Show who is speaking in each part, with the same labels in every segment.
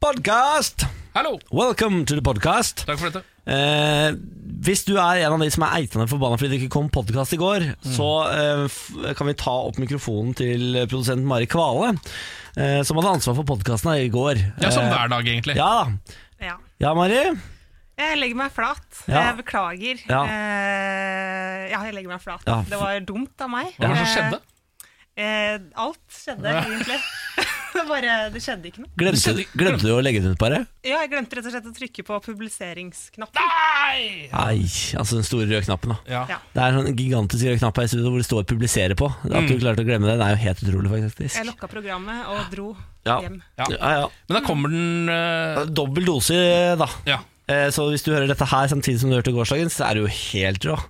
Speaker 1: Podcast!
Speaker 2: Hallo!
Speaker 1: Welcome to the podcast.
Speaker 2: Takk for dette.
Speaker 1: Eh, hvis du er en av de som er eitende forbanna fordi det ikke kom podkast i går, så eh, f kan vi ta opp mikrofonen til produsent Mari Kvale, eh, som hadde ansvar for podkasten i går.
Speaker 2: Ja, sånn Som
Speaker 1: Eh,
Speaker 2: hver dag, egentlig.
Speaker 1: Ja da.
Speaker 3: Ja.
Speaker 1: Ja, Mari?
Speaker 3: Jeg legger meg flat.
Speaker 1: Ja.
Speaker 3: Jeg beklager.
Speaker 1: Ja.
Speaker 3: Eh, ja, jeg legger meg flat.
Speaker 1: Ja.
Speaker 3: Det var dumt av meg.
Speaker 2: Hva var det som skjedde?
Speaker 3: Eh, eh, alt skjedde, egentlig. Det Bare, det skjedde ikke noe.
Speaker 1: Glemte, glemte du å legge det ut, bare?
Speaker 3: Ja, jeg glemte rett og slett å trykke på publiseringsknappen.
Speaker 2: Nei!
Speaker 1: Nei, altså den store røde knappen, da.
Speaker 2: Ja.
Speaker 3: Ja.
Speaker 1: Det er en sånn gigantisk rød knapp her i studio hvor det står 'publisere' på. At du klarte å glemme det, det er jo helt utrolig, faktisk.
Speaker 3: Jeg lokka programmet og dro
Speaker 1: Ja.
Speaker 3: hjem.
Speaker 1: Ja, ja.
Speaker 2: Men da kommer den eh,
Speaker 1: Dobbel dose, da.
Speaker 2: ja.
Speaker 1: Eh, Så hvis du hører dette her samtidig som du hørte gårsdagens, så er du jo helt rå.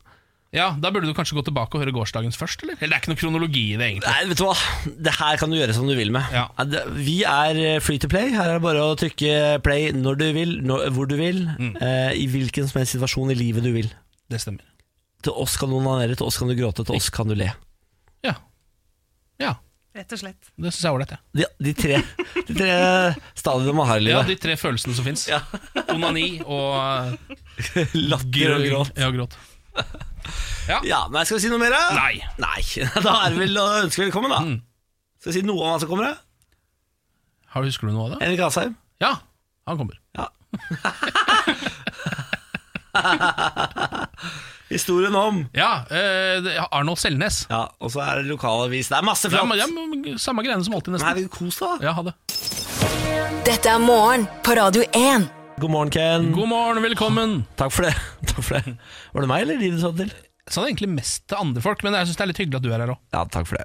Speaker 2: ja, da burde du kanskje gå tilbake og høre gårsdagens først, eller? Eller det er ikke noe kronologi i det, egentlig.
Speaker 1: Nei, vet du hva? Det her kan du gjøre som du vil med.
Speaker 2: Ja.
Speaker 1: det- Vi er eh, free to play. Her er det bare å trykke play når du vil, når, hvor du vil,
Speaker 2: Mm.
Speaker 1: eh, i hvilken som helst situasjon i livet du vil.
Speaker 2: Det stemmer.
Speaker 1: Til oss kan du onanere, til oss kan du gråte, til oss kan du le.
Speaker 2: Ja. Ja,
Speaker 3: Rett og slett.
Speaker 2: det syns jeg er ålreit, jeg.
Speaker 1: De, de, tre, de tre stadiene man har i
Speaker 2: Ja,
Speaker 1: livet.
Speaker 2: de tre følelsene som fins.
Speaker 1: Ja.
Speaker 2: Onani og eh,
Speaker 1: Latter og gråt.
Speaker 2: Ja, gråt.
Speaker 1: Ja, men skal vi si noe mer? da?
Speaker 2: Nei.
Speaker 1: Nei. Da er det vel å ønske velkommen, da.
Speaker 2: Mm.
Speaker 1: Skal vi si noe om hva som kommer? da?
Speaker 2: Har du, husker du noe av det?
Speaker 1: Henrik Asheim.
Speaker 2: Ja, han kommer.
Speaker 1: Historien om
Speaker 2: Ja, eh, det- Arnold Selnes.
Speaker 1: Ja, og så er det lokalavis. Det er masse
Speaker 2: Det
Speaker 1: flott.
Speaker 2: er, ja, men samme greiene som alltid,
Speaker 1: Nei,
Speaker 2: nesten.
Speaker 1: vi kos da.
Speaker 2: Ja, ha det.
Speaker 4: Dette er morgen på Radio 1.
Speaker 1: God morgen, Ken.
Speaker 2: God morgen, velkommen.
Speaker 1: Takk for det. Takk for det. Var det meg eller de du sa det til?
Speaker 2: Jeg sa det egentlig mest til andre folk, men jeg syns det er litt hyggelig at du er her òg.
Speaker 1: Ja, takk for det.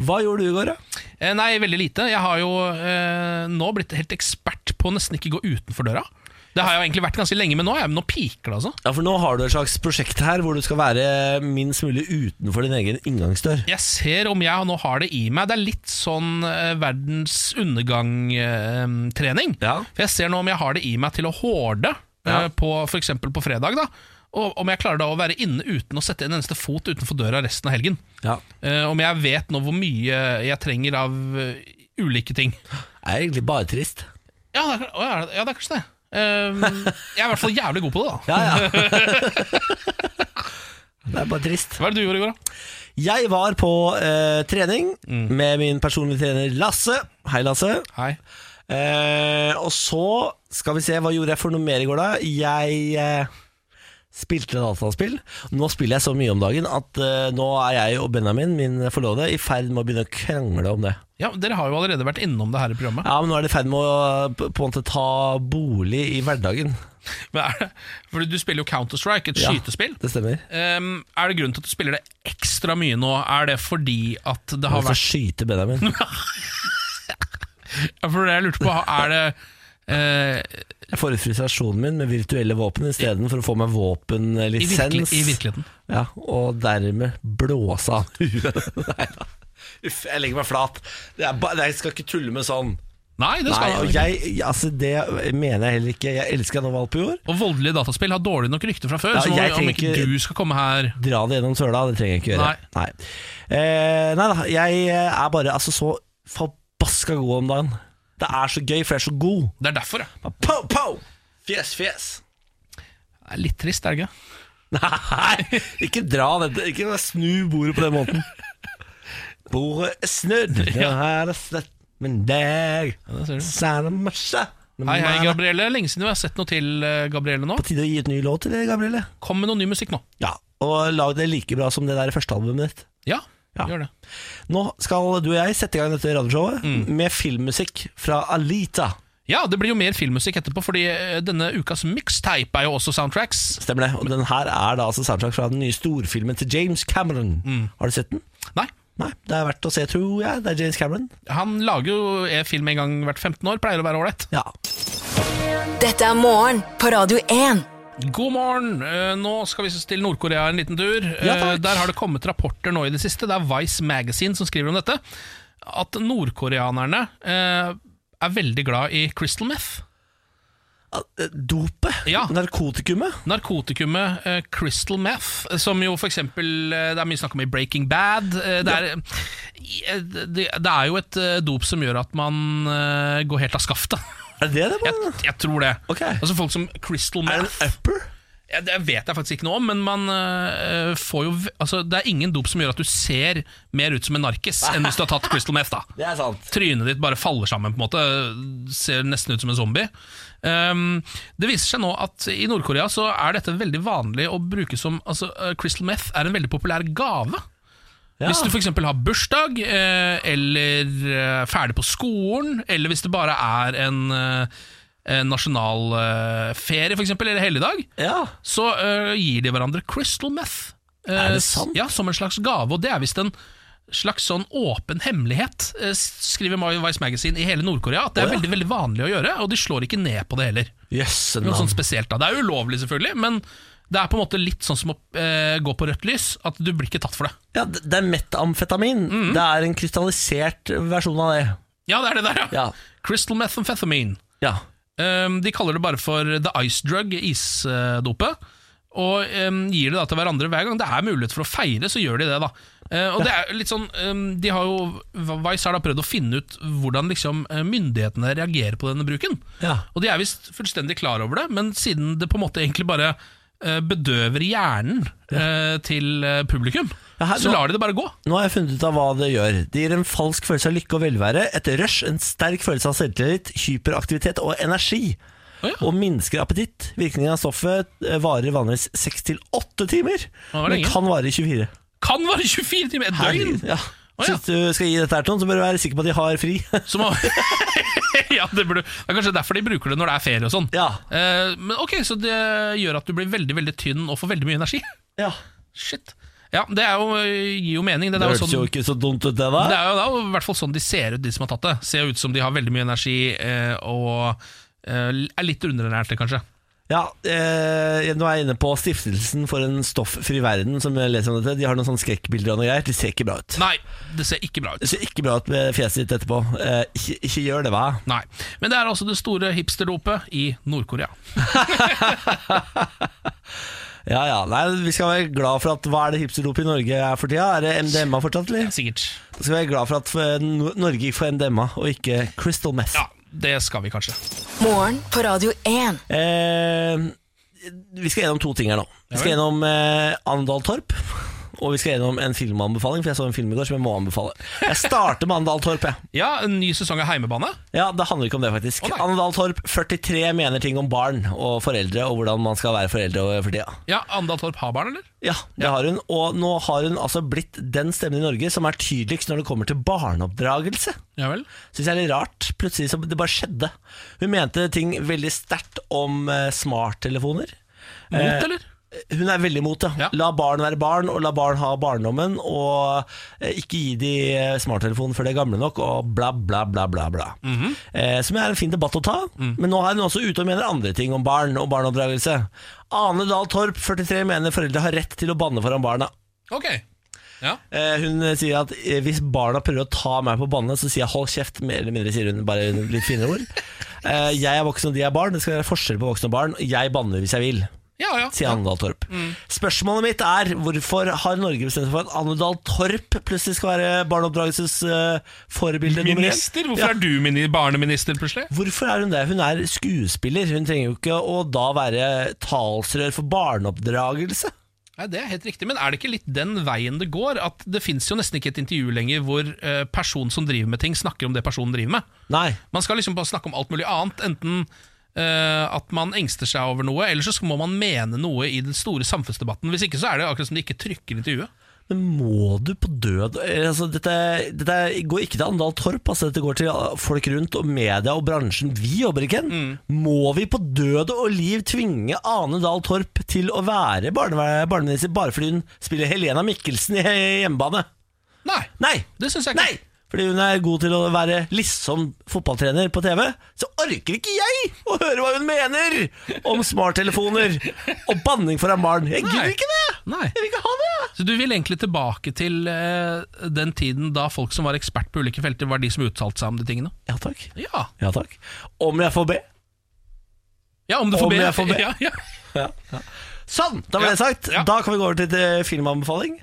Speaker 1: Hva gjorde du i går, da?
Speaker 2: Eh, Nei, veldig lite. Jeg har jo eh, nå blitt helt ekspert på å nesten ikke gå utenfor døra. Det har jeg jo egentlig vært ganske lenge, men nå, er jeg, nå piker det, altså.
Speaker 1: Ja, for nå har du et slags prosjekt her hvor du skal være minst mulig utenfor din egen inngangsdør.
Speaker 2: Jeg ser om jeg nå har det i meg. Det er litt sånn eh, verdens undergang-trening.
Speaker 1: Ja.
Speaker 2: For jeg ser nå om jeg har det i meg til å horde,
Speaker 1: Ja.
Speaker 2: eh, på, for eksempel på fredag, da. Og om jeg klarer da å være inne uten å sette en eneste fot utenfor døra resten av helgen.
Speaker 1: Ja.
Speaker 2: Eh, om jeg vet nå hvor mye jeg trenger av eh, ulike ting.
Speaker 1: Det er egentlig bare trist.
Speaker 2: Ja, det er, å, ja, det- ja, det er kanskje det. Ehm, jeg er i hvert fall jævlig god på det, da.
Speaker 1: Ja, ja. det er bare trist.
Speaker 2: Hva er det du gjorde i går, da?
Speaker 1: Jeg var på eh, trening med min personlige trener Lasse. Hei, Lasse.
Speaker 2: Hei.
Speaker 1: Eh, og så skal vi se, hva gjorde jeg for noe mer i går da? Jeg eh, spilte dataspill. Nå spiller jeg så mye om dagen at eh, nå er jeg og Benjamin, min forlovede, i ferd med å begynne å krangle om det.
Speaker 2: Ja, Dere har jo allerede vært innom det her i programmet.
Speaker 1: Ja, men nå er de i ferd med å på på en måte ta bolig i hverdagen.
Speaker 2: Men er det, fordi Du spiller jo Counter-Strike, et
Speaker 1: Ja.
Speaker 2: skytespill.
Speaker 1: Det stemmer.
Speaker 2: Ehm, er det grunnen til at du spiller det ekstra mye nå? Er det fordi at det har
Speaker 1: Hvorfor
Speaker 2: vært
Speaker 1: skyte Benjamin?
Speaker 2: Ja, For det jeg lurte på, er det eh,
Speaker 1: Jeg får ut frustrasjonen min med virtuelle våpen istedenfor å få meg
Speaker 2: i, virkelig,
Speaker 1: våpenlisens.
Speaker 2: I virkeligheten.
Speaker 1: Ja, og dermed blåse av huet. Nei da. Uff, jeg legger meg flat. Det er ba, jeg skal ikke tulle med sånn.
Speaker 2: Nei, det skal
Speaker 1: Nei,
Speaker 2: man
Speaker 1: og
Speaker 2: ikke.
Speaker 1: jeg, jeg- altså det mener jeg heller ikke. Jeg elsker Anna Valpjord.
Speaker 2: Og voldelige dataspill har dårlig nok rykte fra før,
Speaker 1: Ja,
Speaker 2: så om,
Speaker 1: jeg
Speaker 2: om ikke
Speaker 1: tenker-
Speaker 2: du skal komme her
Speaker 1: Dra det gjennom søla, det trenger jeg ikke gjøre. Nei, Eh, nei da, jeg er bare altså, så forbaska god om dagen. Det er så gøy, for jeg er så god.
Speaker 2: Det er derfor, ja.
Speaker 1: Po, po! Fjes, fjes.
Speaker 2: Det er litt trist, er det ikke?
Speaker 1: Nei, ikke dra dette. Ikke bare snu bordet på den måten. Bordet er snudd, nå er det slett med deg.
Speaker 2: Ja, det ser du.
Speaker 1: Sære masse.
Speaker 2: Hei, hei, Gabrielle. Lenge siden vi har sett noe til eh, Gabrielle nå.
Speaker 1: På tide å gi ut ny låt til det, Gabrielle.
Speaker 2: Kom med noe ny musikk nå.
Speaker 1: Ja, og lag det like bra som det der første albumet ditt.
Speaker 2: Ja,
Speaker 1: Ja.
Speaker 2: gjør det.
Speaker 1: Nå skal du og jeg sette i gang dette radioshowet
Speaker 2: Mm.
Speaker 1: med filmmusikk fra Alita.
Speaker 2: Ja, det blir jo mer filmmusikk etterpå, fordi eh, denne ukas mixtape er jo også soundtracks.
Speaker 1: Stemmer det. Og den her er da altså soundtrack fra den nye storfilmen til James Cameron.
Speaker 2: Mm.
Speaker 1: Har du sett den?
Speaker 2: Nei,
Speaker 1: Nei, det er verdt å se, tror jeg. Det er James Cameron.
Speaker 2: han lager jo eh, film en gang hvert 15 år, pleier å være ålreit.
Speaker 1: Ja.
Speaker 4: Dette er morgen på Radio 1.
Speaker 2: God morgen! Eh, Nå skal vi til Nord-Korea en liten tur.
Speaker 1: Ja, takk.
Speaker 2: Eh, Der har det kommet rapporter nå i det siste, det er Vice Magazine som skriver om dette, at nordkoreanerne eh, er veldig glad i crystal meth.
Speaker 1: Eh, Dopet.
Speaker 2: Ja.
Speaker 1: Narkotikumet.
Speaker 2: Narkotikumet eh, crystal meth, eh, som jo for eksempel eh, det er mye snakk om i Breaking Bad. eh, det, er, eh, i- eh, det, det er jo et eh, dop som gjør at man eh, går helt av skaftet.
Speaker 1: Er det det det
Speaker 2: Jeg,
Speaker 1: man
Speaker 2: jeg tror det.
Speaker 1: Ok.
Speaker 2: Altså Folk som Crystal
Speaker 1: Er det
Speaker 2: Meth
Speaker 1: en upper?
Speaker 2: ja, Det vet jeg faktisk ikke noe om, men man øh, får jo v- altså, Det er ingen dop som gjør at du ser mer ut som en narkis enn hvis du har tatt Crystal Meth. da
Speaker 1: Det er sant.
Speaker 2: Trynet ditt bare faller sammen, på en måte. Ser nesten ut som en zombie. Ehm, det viser seg nå at i Nord-Korea så er dette veldig vanlig å bruke som altså, eh, Crystal meth er en veldig populær gave.
Speaker 1: Ja.
Speaker 2: Hvis du f.eks. har bursdag, eh, eller eh, ferdig på skolen, eller hvis det bare er en, eh, en eh, nasjonalferie, f.eks., eller helligdag,
Speaker 1: Ja.
Speaker 2: så eh, gir de hverandre crystal meth. Eh,
Speaker 1: Er det sant?
Speaker 2: Ja, som en slags gave, og det er visst en slags sånn åpen hemmelighet, eh, skriver Mayo Vice Magazine i hele Nord-Korea, at det er
Speaker 1: Å, ja.
Speaker 2: veldig veldig vanlig å gjøre, og de slår ikke ned på det heller.
Speaker 1: Jøsse
Speaker 2: Noe
Speaker 1: navn.
Speaker 2: sånt spesielt da. Det er ulovlig, selvfølgelig, men det er på en måte litt sånn som å eh, gå på rødt lys, at du blir ikke tatt for det.
Speaker 1: Ja, det det er metamfetamin.
Speaker 2: Mhm.
Speaker 1: Det er en krystallisert versjon av det.
Speaker 2: Ja, det er det der, ja!
Speaker 1: Ja.
Speaker 2: Crystal methamphetamine.
Speaker 1: ja.
Speaker 2: Um, de kaller det bare for the ice drug, isdopet. Og um, gir det da til hverandre hver gang det er mulighet for å feire, så gjør de det. da Eh, Og det er litt sånn um, de har jo Vice har da prøvd å finne ut hvordan liksom eh, myndighetene reagerer på denne bruken.
Speaker 1: Ja.
Speaker 2: Og de er visst fullstendig klar over det, men siden det på en måte egentlig bare eh, bedøver hjernen eh, til eh, publikum,
Speaker 1: Ja, her-
Speaker 2: så
Speaker 1: nå-
Speaker 2: lar de det bare gå.
Speaker 1: Nå har jeg funnet ut av hva det gjør. Det gir en falsk følelse av lykke og velvære, et rush, en sterk følelse av selvtillit, hyperaktivitet og energi.
Speaker 2: Å ja.
Speaker 1: Og minsker appetitt. Virkningen av stoffet eh, varer vanligvis 6-8 timer,
Speaker 2: var
Speaker 1: men
Speaker 2: lenge.
Speaker 1: kan vare i 24.
Speaker 2: Kan være 24 timer, et døgn!
Speaker 1: Herregud, Ja.
Speaker 2: Å, ja.
Speaker 1: Så hvis du skal gi dette her til noen, så bør du være sikker på at de har fri.
Speaker 2: Så må, ja, det, burde, det er kanskje derfor de bruker det når det er ferie og sånn.
Speaker 1: ja.
Speaker 2: Eh, men ok, Så det gjør at du blir veldig veldig tynn og får veldig mye energi?
Speaker 1: ja.
Speaker 2: Shit. Ja, Det er jo, eh, gir jo mening. Det,
Speaker 1: Det
Speaker 2: er jo
Speaker 1: hørtes jo
Speaker 2: sånn,
Speaker 1: ikke så dumt ut, det da.
Speaker 2: det er jo da, i hvert fall sånn de ser ut, de som har tatt det. Ser ut som de har veldig mye energi eh, og eh, er litt underernærte, kanskje.
Speaker 1: Ja, eh, Nå er jeg inne på Stiftelsen for en stofffri verden, som jeg leser om dette. De har noen sånne skrekkbilder og noe greier. Det ser ikke bra ut.
Speaker 2: Nei, det ser ikke bra ut.
Speaker 1: Det ser ikke bra ut med fjeset ditt etterpå. Eh, ikke, ikke gjør det, hva?
Speaker 2: Nei, Men det er altså det store hipsterdopet i Nord-Korea.
Speaker 1: Ja, ja. Nei, vi skal være glad for at Hva er det hipsterdop i Norge er for tida? Er det MDMA fortsatt, eller?
Speaker 2: Sikkert.
Speaker 1: Da skal vi være glad for at eh, Nor- Norge gikk for MDMA, og ikke Crystal Meth.
Speaker 2: Ja, det skal vi kanskje.
Speaker 4: Morgen på Radio 1.
Speaker 1: Eh, vi skal gjennom to ting her nå. Vi skal gjennom eh, Andal Torp. Og vi skal gjennom en filmanbefaling, for jeg så en film i går som jeg må anbefale. Jeg starter med Andal Torp, jeg.
Speaker 2: Ja, en ny sesong av Heimebane.
Speaker 1: Ja, det handler ikke om det, faktisk.
Speaker 2: Å, nei.
Speaker 1: Anne Dahl Torp, 43, mener ting om barn og foreldre, og hvordan man skal være foreldre og- for tida.
Speaker 2: Ja, Andal Torp har barn, eller?
Speaker 1: Ja, det har hun. Og nå har hun altså blitt den stemmen i Norge som er tydeligst når det kommer til barneoppdragelse.
Speaker 2: Ja vel.
Speaker 1: Syns jeg er litt rart. Plutselig så det bare skjedde. Hun mente ting veldig sterkt om eh, smarttelefoner.
Speaker 2: Mot, eller?
Speaker 1: Hun er veldig imot det.
Speaker 2: Ja.
Speaker 1: La barn være barn, og la barn ha barndommen. Og eh, ikke gi de eh, smarttelefonen før de er gamle nok, og bla, bla, bla. bla, bla. eh, som er en fin debatt å ta. Men nå er hun også ute og mener andre ting om barn og barneoppdragelse. Ane Dahl Torp, 43, mener foreldre har rett til å banne foran barna.
Speaker 2: Ok. Ja.
Speaker 1: Eh, hun sier at eh, hvis barna prøver å ta meg på banne, så sier jeg 'hold kjeft', mer eller mindre, sier hun. Bare litt finere ord. Eh, jeg er voksen, og de er barn. Det skal være forskjell på voksne og barn. Jeg banner hvis jeg vil
Speaker 2: Ja, ja. Mm.
Speaker 1: sier Anne Dahl Torp. Spørsmålet mitt er hvorfor har Norge bestemt seg for at Anne Dahl Torp plutselig skal være barneoppdragelses eh, forbilde nummer én?
Speaker 2: Minister? Hvorfor er du mini- barneminister plutselig?
Speaker 1: Hvorfor er hun det? Hun er skuespiller. Hun trenger jo ikke å da være talsrør for barneoppdragelse.
Speaker 2: Nei, Det er helt riktig, men er det ikke litt den veien det går? At Det fins jo nesten ikke et intervju lenger hvor eh, personen som driver med ting, snakker om det personen driver med.
Speaker 1: Nei.
Speaker 2: Man skal liksom bare snakke om alt mulig annet. Enten eh, at man engster seg over noe, eller så må man mene noe i den store samfunnsdebatten. Hvis ikke så er det akkurat som de ikke trykker intervjuet.
Speaker 1: Men må du på død eh, altså, dette, dette går ikke til Anne Dahl Torp. Altså, dette går til ah, folk rundt og media og bransjen vi jobber i. Ken. Må vi på død og liv tvinge Ane Dahl Torp til å være barnevær- barneminister bare fordi hun spiller Helena Mikkelsen i he- hjemmebane?
Speaker 2: Nei,
Speaker 1: Nei!
Speaker 2: det syns jeg ikke.
Speaker 1: Nei! Fordi hun er god til å være liksom fotballtrener på TV, så orker ikke jeg å høre hva hun mener om smarttelefoner og banning foran barn. Jeg gidder
Speaker 2: Nei.
Speaker 1: ikke det!
Speaker 2: Nei.
Speaker 1: Jeg vil ikke ha det!
Speaker 2: Så du vil egentlig tilbake til eh, den tiden da folk som var ekspert på ulike felter, var de som uttalte seg om de tingene?
Speaker 1: Ja takk.
Speaker 2: Ja,
Speaker 1: Ja takk. Om jeg får be.
Speaker 2: ja om du får
Speaker 1: Om
Speaker 2: be.
Speaker 1: jeg får be.
Speaker 2: Ja, ja.
Speaker 1: Sånn, da var
Speaker 2: Ja,
Speaker 1: det sagt.
Speaker 2: ja.
Speaker 1: Da kan vi gå over til eh, filmanbefaling.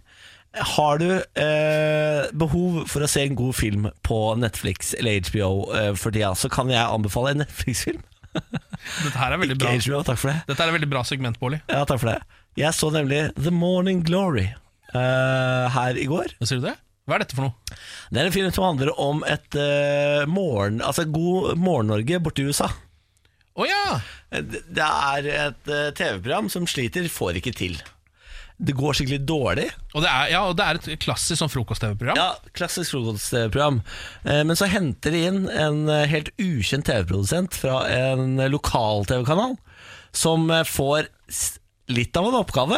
Speaker 1: Har du eh, behov for å se en god film på Netflix eller HBO eh, for tida, så kan jeg anbefale en Netflix-film.
Speaker 2: Dette her er veldig bra.
Speaker 1: Ikke HBO, takk for det.
Speaker 2: Dette er et veldig bra segment, Bårli.
Speaker 1: Ja, takk for det. Jeg så nemlig The Morning Glory eh, her i går.
Speaker 2: Hva Sier du det? Hva er dette for noe?
Speaker 1: Det er en film som handler om et eh, morgen... Altså God morgen-Norge borte i USA.
Speaker 2: Å ja!
Speaker 1: Det det er et eh, TV-program som sliter, får ikke til. Det går skikkelig dårlig.
Speaker 2: Og det er, ja, og det er et klassisk sånn frokost-TV-program.
Speaker 1: Ja, klassisk frokost-program. Eh, Men så henter de inn en eh, helt ukjent TV-produsent fra en eh, lokal TV-kanal, som eh, får s- litt av en oppgave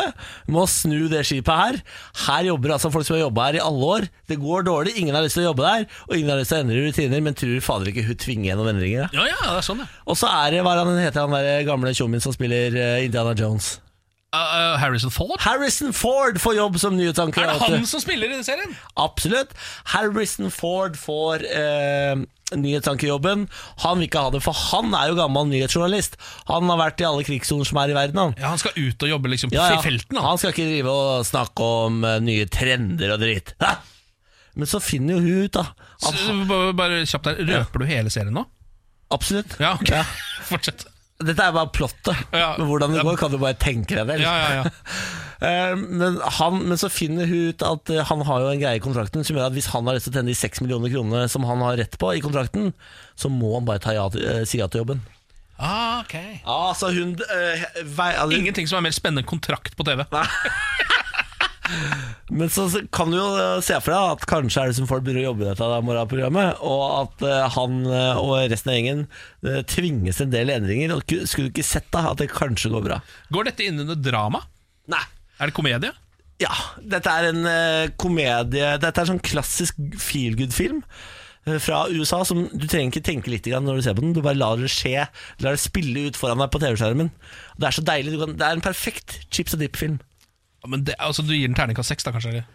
Speaker 1: med å snu det skipet her. Her jobber altså folk som har jobba her i alle år. Det går dårlig, ingen har lyst til å jobbe der, og ingen har lyst til å endre rutiner, men tror fader ikke hun tvinger gjennom endringer. da.
Speaker 2: Ja, ja, det er sånn, ja.
Speaker 1: Og så er det hva er han heter han der gamle tjommien som spiller eh, Indiana Jones.
Speaker 2: Uh, uh, Harrison Ford?
Speaker 1: Harrison Ford får jobb som nyhetsanker.
Speaker 2: Er det
Speaker 1: vet du.
Speaker 2: han som spiller i den serien?
Speaker 1: Absolutt. Harrison Ford får eh, nyhetsankerjobben. Han vil ikke ha det, for han er jo gammel nyhetsjournalist. Han har vært i alle krigssoner som er i verden. Han.
Speaker 2: Ja, Han skal ut og jobbe liksom
Speaker 1: Ja, ja.
Speaker 2: i felten. Han.
Speaker 1: Han skal ikke drive og snakke om eh, nye trender og dritt. Hæ? Men så finner jo hun ut, da.
Speaker 2: Så,
Speaker 1: At,
Speaker 2: bare, bare kjapt her, Røper du hele serien nå?
Speaker 1: absolutt.
Speaker 2: Ja, ok. Fortsett.
Speaker 1: Dette er bare plottet.
Speaker 2: Ja.
Speaker 1: Men hvordan det
Speaker 2: Ja.
Speaker 1: går, kan du bare tenke deg vel.
Speaker 2: Ja, ja, ja.
Speaker 1: Eh, men, han, men så finner hun ut at eh, han har jo en greie i kontrakten som gjør at hvis han har lyst til å tjene de 6 millioner kronene som han har rett på i kontrakten, så må han bare ta ja til, eh, si ja til jobben.
Speaker 2: Ah, ok
Speaker 1: Ja, så hun eh, vei, altså,
Speaker 2: Ingenting som er mer spennende enn kontrakt på TV.
Speaker 1: Men så så kan du jo eh, se for deg at kanskje er det som folk begynner å jobbe i dette da, morgenprogrammet, og at eh, han eh, og resten av gjengen eh, tvinges til en del endringer. Og ku- skulle du ikke sett da at det kanskje går bra?
Speaker 2: Går dette inn under drama?
Speaker 1: Nei.
Speaker 2: Er det komedie?
Speaker 1: Ja, dette er en eh, komedie Dette er sånn klassisk feel good film fra USA som du trenger ikke tenke litt grann når du ser på den. Du bare lar det skje. Lar det spille ut foran deg på TV-skjermen. Det er så deilig. Du kan, det er en perfekt chips og dip-film.
Speaker 2: Ja, Men det, altså, Du gir den terningkast seks, da kanskje? Eller?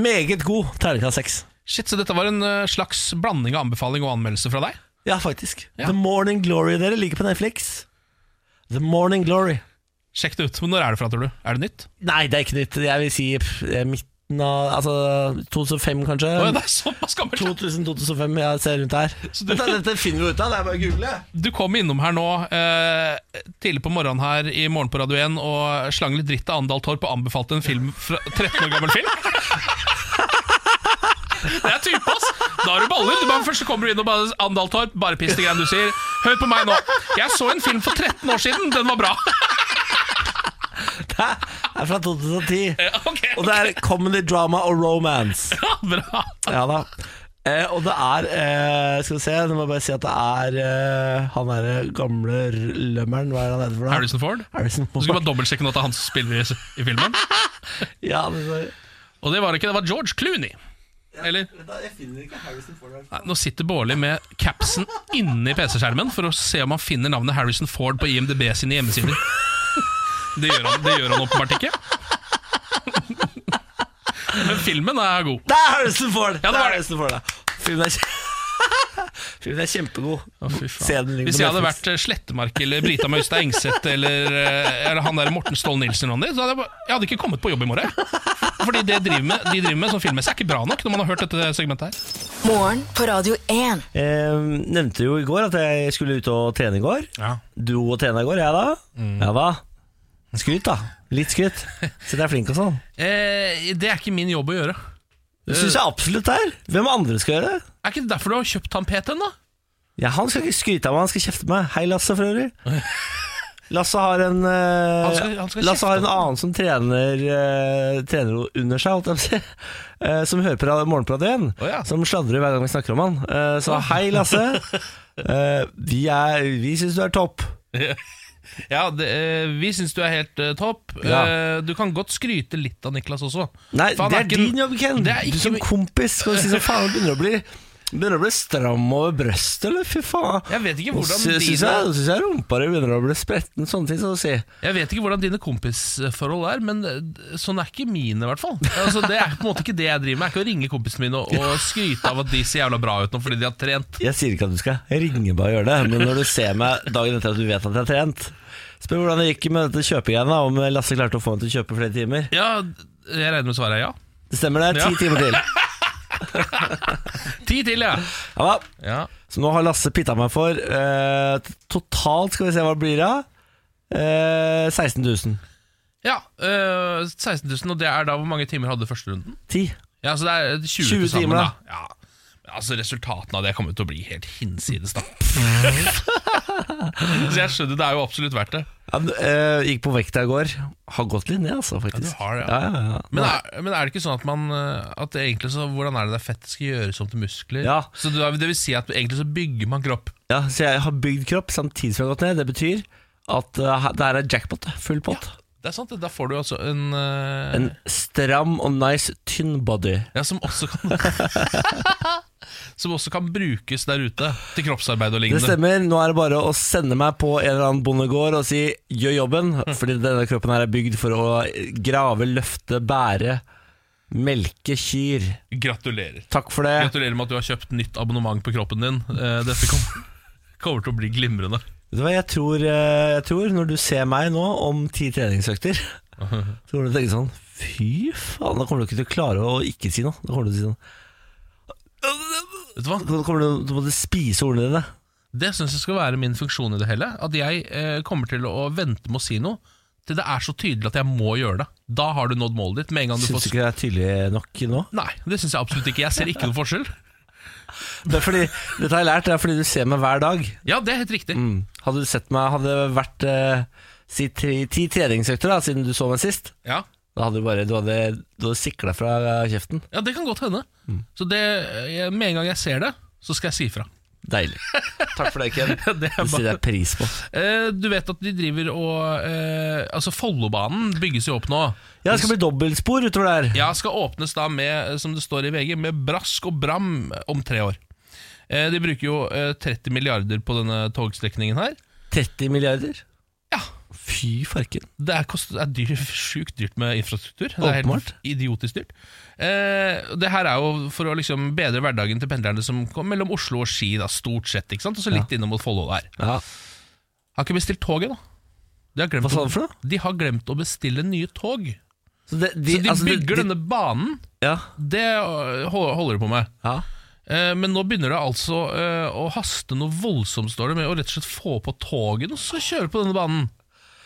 Speaker 1: Meget god terningkast seks.
Speaker 2: Shit, Så dette var en eh, slags blanding av anbefaling og anmeldelse fra deg?
Speaker 1: Ja, faktisk.
Speaker 2: Ja.
Speaker 1: The Morning Glory, dere ligger på Netflix. The Morning Glory.
Speaker 2: Sjekk det ut. Men når er det fra, tror du? Er det nytt?
Speaker 1: Nei, det er ikke nytt. Jeg vil si pff, eh, midten av Altså 2005, kanskje.
Speaker 2: Å, ja, det er såpass gammelt
Speaker 1: 2000-2005, jeg ser rundt her.
Speaker 2: Så du-
Speaker 1: Dette, dette finner vi ut av, det er bare å google.
Speaker 2: Du kom innom her nå eh, tidlig på morgenen her i Morgen på Radio 1 og slang litt dritt av Andal Torp og anbefalte en film fra 13 år gammel film. Det er type, ass! Da har du baller. Du bare, først så kommer du inn og bare Andal Torp, bare piss de greiene du sier. Hør på meg nå. Jeg så en film for 13 år siden. Den var bra.
Speaker 1: Det er fra 2010.
Speaker 2: Ja, ok,
Speaker 1: Og det er comedy, drama og romance.
Speaker 2: Ja, bra.
Speaker 1: Ja da. Eh, og det er eh, Skal vi se, nå må jeg bare si at det er eh, han derre gamle r- lømmeren, hva er han heter for noe?
Speaker 2: Harrison Ford.
Speaker 1: Harrison
Speaker 2: Du
Speaker 1: Ford.
Speaker 2: skal bare dobbeltsjekke nå at det er han som spiller i, i filmen.
Speaker 1: Ja, men så-
Speaker 2: Og det var det ikke. Det var George Clooney. Eller?
Speaker 1: Vent da, Jeg finner ikke Harrison Ford her.
Speaker 2: Nei, Nå sitter Bårli med capsen inni PC-skjermen for å se om han finner navnet Harrison Ford på IMDb sine hjemmesider. Det gjør han, det gjør han åpenbart ikke. Men filmen er god.
Speaker 1: Det er Harrison Ford!
Speaker 2: Ja, det
Speaker 1: det
Speaker 2: var
Speaker 1: er
Speaker 2: det.
Speaker 1: Harrison Ford, ja. Filmen er, kje- Filmen er kjempegod.
Speaker 2: Å, fy faen.
Speaker 1: Se den ligger
Speaker 2: Hvis
Speaker 1: på
Speaker 2: jeg hadde
Speaker 1: Netflix.
Speaker 2: vært eh, Slettemark eller Brita Møystad Engseth eller, eh, eller han der Morten Ståhl Nilsen, Ronny, så hadde jeg, bare, jeg hadde ikke kommet på jobb i morgen. Fordi det driver med, de driver med sånn filmmessig er ikke bra nok når man har hørt dette segmentet her.
Speaker 4: Morgen på Radio 1.
Speaker 1: Eh, nevnte jo i går at jeg skulle ut og trene i går.
Speaker 2: Ja.
Speaker 1: Du og trene i går, jeg da.
Speaker 2: Mm.
Speaker 1: Ja da. Skryt, da. Litt skryt. Så det er flink og sånn.
Speaker 2: Eh, det er ikke min jobb å gjøre.
Speaker 1: Det syns jeg absolutt det er. Hvem andre skal gjøre det?
Speaker 2: Er ikke det derfor du har kjøpt han PT-en, da?
Speaker 1: Ja, Han skal ikke skryte av meg, han skal kjefte på meg. Hei, Lasse, for øvrig. Lasse har en eh,
Speaker 2: Han skal- han skal
Speaker 1: Lasse har
Speaker 2: kjefte
Speaker 1: en
Speaker 2: på meg.
Speaker 1: annen som trener eh, Trener under seg, holdt jeg på å si. eh, som hører på ra- Morgenpratet igjen.
Speaker 2: Å ja.
Speaker 1: Som sladrer hver gang vi snakker om han. Eh, så hei, Lasse. Eh, vi er- vi syns du er topp.
Speaker 2: Ja, det, eh, vi syns du er helt eh, topp.
Speaker 1: Ja.
Speaker 2: Eh, du kan godt skryte litt av Niklas også.
Speaker 1: Nei,
Speaker 2: For han
Speaker 1: det er
Speaker 2: ikke-
Speaker 1: din jobb, Ken.
Speaker 2: Det er
Speaker 1: du
Speaker 2: ikke
Speaker 1: som
Speaker 2: min-
Speaker 1: kompis skal du si sånn faen, du begynner å bli Begynner å bli stram over brøstet, eller fy faen.
Speaker 2: Jeg vet ikke
Speaker 1: Nå
Speaker 2: hvordan
Speaker 1: sy- syns jeg,
Speaker 2: dine-
Speaker 1: syns jeg rumpa di begynner å bli spretten, sånne ting. Så å si.
Speaker 2: Jeg vet ikke hvordan dine kompisforhold er, men eh, sånn er ikke mine, i hvert fall. Altså, det er på en måte ikke det jeg driver med. Det er ikke å ringe kompisene mine og, og skryte av at de ser jævla bra ut nå fordi de har trent.
Speaker 1: Jeg sier ikke at du skal ringe meg og gjøre det, men når du ser meg dagen etter at du vet at jeg har trent Spør hvordan det gikk med dette kjøpegreiene, da, om Lasse klarte å få meg til å kjøpe flere timer.
Speaker 2: Ja, jeg regner med svaret er ja.
Speaker 1: Det stemmer det. Ti
Speaker 2: Ja.
Speaker 1: timer til.
Speaker 2: Ti til, ja.
Speaker 1: Ja da.
Speaker 2: ja.
Speaker 1: Så nå har Lasse pitta meg for eh, Totalt, skal vi se hva det blir av. Eh, 16 000.
Speaker 2: Ja, øh, 16 000, og det er da hvor mange timer hadde første runden?
Speaker 1: 10.
Speaker 2: Ja, så det er 20,
Speaker 1: 20
Speaker 2: til sammen,
Speaker 1: timer,
Speaker 2: da. Ja. Men altså, resultatene av det kommer jo til å bli helt hinsides, da. så jeg skjønner, det er jo absolutt verdt det.
Speaker 1: Ja, men, eh, gikk på vekta i går. Har gått litt ned, altså, faktisk.
Speaker 2: du har det, ja.
Speaker 1: ja. Ja, ja,
Speaker 2: Men er, men er det ikke sånn at man øh, At det egentlig så, Hvordan er det det er fett skal gjøres om til muskler?
Speaker 1: Ja.
Speaker 2: Så det, det vil si at egentlig så bygger man kropp.
Speaker 1: ja, Så jeg har bygd kropp samtidig som jeg har gått ned. Det betyr at eh, det her er jackpot. Full pott.
Speaker 2: Det er sant, det. Da får du altså en, øh,
Speaker 1: En stram og nice tynn body.
Speaker 2: Ja, som også kan Som også kan brukes der ute til kroppsarbeid og
Speaker 1: Det
Speaker 2: lignende.
Speaker 1: stemmer. Nå er det bare å sende meg på en eller annen bondegård og si 'gjør jobben',
Speaker 2: Hm.
Speaker 1: fordi denne kroppen her er bygd for å grave, løfte, bære, melke kyr.
Speaker 2: Gratulerer.
Speaker 1: Takk for det.
Speaker 2: Gratulerer med at du har kjøpt nytt abonnement på kroppen din. Eh, Dette kommer, kommer til å bli glimrende.
Speaker 1: Vet du hva, jeg tror, eh, jeg tror når du ser meg nå om ti treningsøkter, så kommer du til å tenke sånn Fy faen, da kommer du ikke til å klare å ikke si noe. Da kommer du til å si sånn
Speaker 2: Vet du hva?
Speaker 1: Da kommer du til å måtte spise ordene dine.
Speaker 2: Det syns jeg skal være min funksjon i det hele. At jeg eh, kommer til å vente med å si noe til det er så tydelig at jeg må gjøre det. Da har du nådd målet ditt. Med en gang du
Speaker 1: Syns du
Speaker 2: får
Speaker 1: ikke det er tydelig nok nå?
Speaker 2: Nei, det syns jeg absolutt ikke. Jeg ser ikke noen forskjell.
Speaker 1: Det er fordi, dette har jeg lært, det er fordi du ser meg hver dag.
Speaker 2: Ja, det er helt riktig.
Speaker 1: Mm. Hadde du sett meg, hadde det vært eh, si tre, ti treningsøkter da, siden du så meg sist,
Speaker 2: Ja,
Speaker 1: da hadde du bare, du hadde, du hadde siklet fra eh, kjeften.
Speaker 2: ja det kan godt hende.
Speaker 1: Mm.
Speaker 2: Så det, jeg- med en gang jeg ser det, så skal jeg si fra.
Speaker 1: Deilig. Takk for det, Ken.
Speaker 2: Ja, det er
Speaker 1: Det setter
Speaker 2: bare...
Speaker 1: jeg pris på.
Speaker 2: eh, du vet at de driver og eh, Altså, Follobanen bygges jo opp nå.
Speaker 1: Ja, det skal bli dobbeltspor utover der.
Speaker 2: Ja, skal åpnes da med, eh, som det står i VG, med brask og bram om tre år. Eh, De bruker jo eh, 30 milliarder på denne togstrekningen her.
Speaker 1: 30 milliarder.
Speaker 2: Ja,
Speaker 1: Fy farken.
Speaker 2: det er, kost, det er dyr, sjukt dyrt med infrastruktur. Det er helt
Speaker 1: Åpenbart.
Speaker 2: idiotisk dyrt. Eh, det her er jo for å liksom bedre hverdagen til pendlerne som kom mellom Oslo og Ski, da, stort sett. ikke sant? Og så litt innom mot Follo der.
Speaker 1: Ja.
Speaker 2: Har ikke bestilt toget, da. De har, glemt
Speaker 1: Hva sa
Speaker 2: å-
Speaker 1: du for noe?
Speaker 2: de har glemt å bestille nye tog.
Speaker 1: Så det-
Speaker 2: Så de
Speaker 1: altså, det-
Speaker 2: bygger
Speaker 1: de-
Speaker 2: denne banen.
Speaker 1: Ja.
Speaker 2: Det øh, hol- holder de på med.
Speaker 1: ja.
Speaker 2: Eh, Men nå begynner det altså eh, å haste noe voldsomt, står det, med å rett og slett få på toget og så kjøre på denne banen.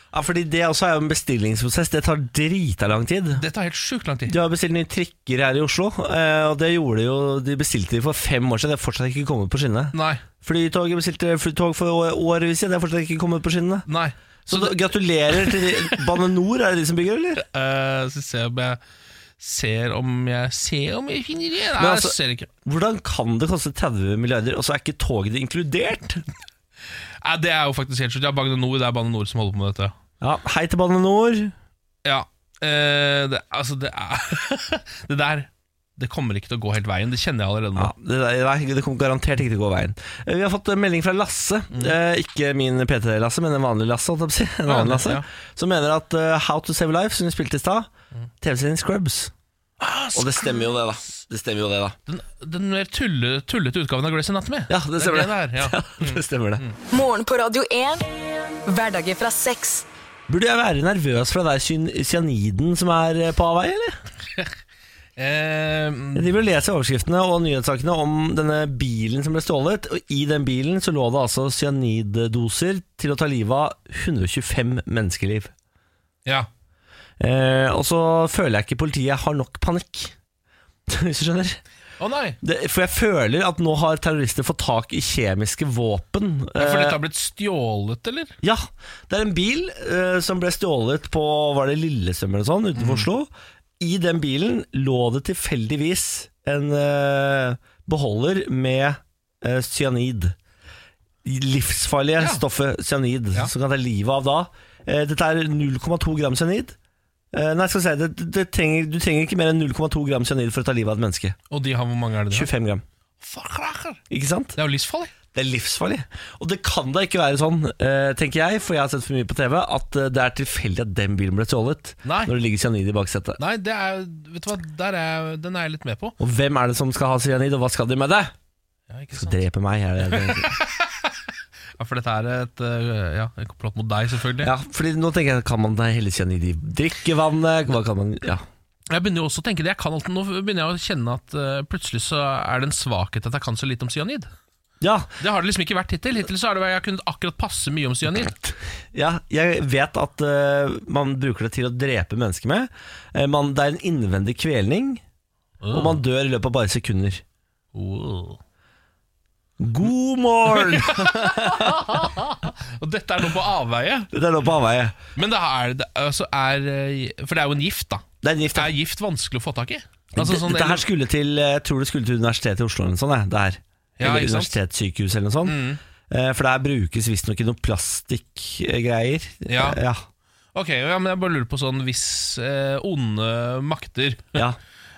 Speaker 1: Ja, fordi det også er jo en bestillingsprosess. Det tar drita lang tid.
Speaker 2: Det tar helt sjukt lang tid.
Speaker 1: De har bestilt nye trikker her i Oslo, eh, og det gjorde de jo De bestilte de for fem år siden. Det er fortsatt ikke kommet på skinnene.
Speaker 2: Nei,
Speaker 1: Flytoget bestilte flytog for å- årevis siden. Det er fortsatt ikke kommet på skinnene.
Speaker 2: nei.
Speaker 1: Så da, gratulerer til de- Bane Nor, er det de som bygger, eller?
Speaker 2: Eh, så ser jeg om jeg ser om jeg ser om jeg finner det. Nei,
Speaker 1: altså-
Speaker 2: jeg ser ikke.
Speaker 1: Hvordan kan det koste 30 milliarder, og så er ikke toget inkludert?
Speaker 2: Nei, det er jo faktisk helt sjukt. Ja, Bane Nor, det er Bane Nor som holder på med dette.
Speaker 1: Ja, hei til Bane Nor.
Speaker 2: Ja, eh, det, altså det er Det der, det kommer ikke til å gå helt veien. Det kjenner jeg allerede nå.
Speaker 1: Ja, det, der- nei, det kommer garantert ikke til å gå veien. Eh, Vi har fått en melding fra Lasse.
Speaker 2: Mm.
Speaker 1: Eh, Ikke min PT-Lasse, men en vanlig Lasse, holdt jeg på å si. En annen
Speaker 2: Ja,
Speaker 1: Lasse.
Speaker 2: ja.
Speaker 1: Som mener at eh, How to Save Life, som vi spilte i stad,
Speaker 2: Mm.
Speaker 1: TV-serien Scrubs.
Speaker 2: Ah,
Speaker 1: Og det stemmer jo det, da. Det stemmer jo det, da.
Speaker 2: Den, den mer tulle, tullete utgaven av Grace Anatomy.
Speaker 1: Ja, det stemmer
Speaker 2: det. er det der, ja. Mm.
Speaker 1: Det stemmer det.
Speaker 4: Morgen på Radio 1. Hverdager fra seks.
Speaker 1: Burde jeg være nervøs for det der cyan- cyaniden som er eh, på avveie, eller?
Speaker 2: Eh,
Speaker 1: Jeg driver og leser overskriftene og nyhetssakene om denne bilen som ble stjålet. Og I den bilen så lå det altså cyaniddoser til å ta livet av 125 menneskeliv.
Speaker 2: ja.
Speaker 1: Eh, og så føler jeg ikke politiet har nok panikk. Hvis du skjønner?
Speaker 2: Å nei!
Speaker 1: Det, for jeg føler at nå har terrorister fått tak i kjemiske våpen.
Speaker 2: Ja,
Speaker 1: Eh,
Speaker 2: For dette har blitt stjålet, eller?
Speaker 1: Ja, det er en bil eh, som ble stjålet på Var det Lillestrøm eller sånn,
Speaker 2: Mm.
Speaker 1: utenfor Oslo. I den bilen lå det tilfeldigvis en eh, beholder med eh, cyanid. Livsfarlige
Speaker 2: Ja.
Speaker 1: stoffet cyanid,
Speaker 2: Ja.
Speaker 1: som kan ta livet av da. Eh, dette er 0,2 gram cyanid. Eh, nei, skal vi si, det, det trenger, du trenger ikke mer enn 0,2 gram cyanid for å ta livet av et menneske.
Speaker 2: Og de har hvor mange er det de har?
Speaker 1: 25 gram.
Speaker 2: Fuck, rakker.
Speaker 1: Ikke sant?
Speaker 2: Det er jo livsfarlig.
Speaker 1: Det er livsfarlig. Og det kan da ikke være sånn, eh, tenker jeg, for jeg har sett for mye på TV, at eh, det er tilfeldig at den bilen ble stjålet
Speaker 2: Nei.
Speaker 1: når det ligger cyanid i baksetet.
Speaker 2: Nei, det er, vet du hva, Der er, den er jeg litt med på.
Speaker 1: Og hvem er det som skal ha cyanid, og hva skal de med det?
Speaker 2: Ja, ikke
Speaker 1: Skal
Speaker 2: sant?
Speaker 1: drepe meg, er det det jeg tenker.
Speaker 2: Ja, For dette er et øh, ja, et komplott mot deg, selvfølgelig.
Speaker 1: Ja, fordi nå tenker jeg, kan man da helle cyanid i drikkevannet? Hva kan man, ja.
Speaker 2: Jeg begynner jo også å tenke det, jeg kan alltid, Nå begynner jeg å kjenne at eh, plutselig så er det en svakhet at jeg kan så lite om cyanid.
Speaker 1: Ja,
Speaker 2: Det har det liksom ikke vært hittil. Hittil så har det vært- jeg har kunnet akkurat passe mye om cyanid.
Speaker 1: ja, jeg vet at eh, man bruker det til å drepe mennesker med. Eh, man, det er en innvendig kvelning, og man dør i løpet av bare sekunder.
Speaker 2: Wow.
Speaker 1: God morgen!
Speaker 2: Og dette er nå på avveie.
Speaker 1: Dette er nå på avveie.
Speaker 2: Men det er, det, altså er eh, For det er jo en gift, da.
Speaker 1: Det er en gift.
Speaker 2: Er gift vanskelig å få tak i? Altså, sånn,
Speaker 1: Dette her skulle til eh, Jeg tror det skulle til Universitetet i Oslo eller noe sånt. eh, Det her.
Speaker 2: Ja,
Speaker 1: eller
Speaker 2: ikke sant? Mm.
Speaker 1: universitetssykehus eller noe sånt. Eh, For der brukes visstnok noen plastikkgreier. Eh,
Speaker 2: Ja.
Speaker 1: ja.
Speaker 2: Ok, ja, men jeg bare lurer på sånn Hvis eh, onde makter
Speaker 1: ja.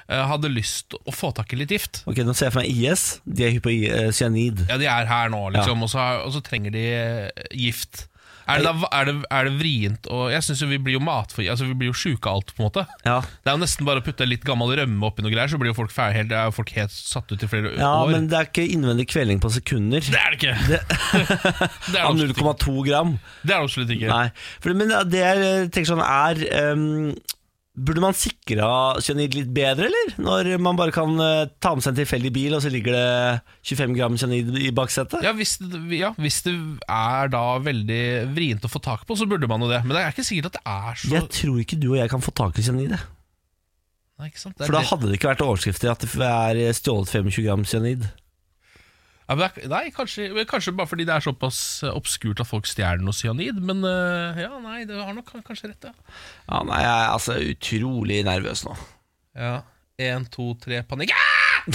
Speaker 2: eh, hadde lyst å få tak i litt gift
Speaker 1: Ok, Nå ser jeg for meg IS. De er hypp på i- eh, cyanid.
Speaker 2: Ja, de er her nå, liksom, og, så, og så trenger de eh, gift. Er det, da, er, det, er det vrient å Jeg syns jo vi blir jo matfri, altså vi blir jo sjuke av alt, på en måte.
Speaker 1: Ja,
Speaker 2: Det er jo nesten bare å putte litt gammel rømme oppi noe greier, så blir jo folk ferdig, helt, er jo folk helt satt ut i flere
Speaker 1: ja
Speaker 2: år.
Speaker 1: men det er ikke innvendig kvelning på sekunder.
Speaker 2: det er det ikke!
Speaker 1: Det-
Speaker 2: det, er
Speaker 1: Av
Speaker 2: absolutt,
Speaker 1: 0,2 gram.
Speaker 2: det er det absolutt ikke.
Speaker 1: Nei. For, men det jeg tenker sånn er ehm, Burde man sikra cyanid litt bedre, eller? Når man bare kan eh, ta med seg en tilfeldig bil, og så ligger det 25 gram cyanid i baksetet?
Speaker 2: Ja hvis, det, ja, hvis det er da veldig vrient å få tak på, så burde man jo det. Men det er ikke sikkert at det er så
Speaker 1: Jeg tror ikke du og jeg kan få tak i cyanid. jeg.
Speaker 2: Nei, ikke sant? Det er
Speaker 1: For da
Speaker 2: det-
Speaker 1: hadde det ikke vært overskrifter at det er stjålet 25 gram cyanid.
Speaker 2: Ja, men det er, nei, kanskje, men kanskje bare fordi det er såpass eh, obskurt at folk stjeler noe cyanid, men eh, ja, nei, det har nok kan- kanskje rett, ja.
Speaker 1: Ja, nei, jeg er altså utrolig nervøs nå.
Speaker 2: ja. En, to, tre, panikk. Ah!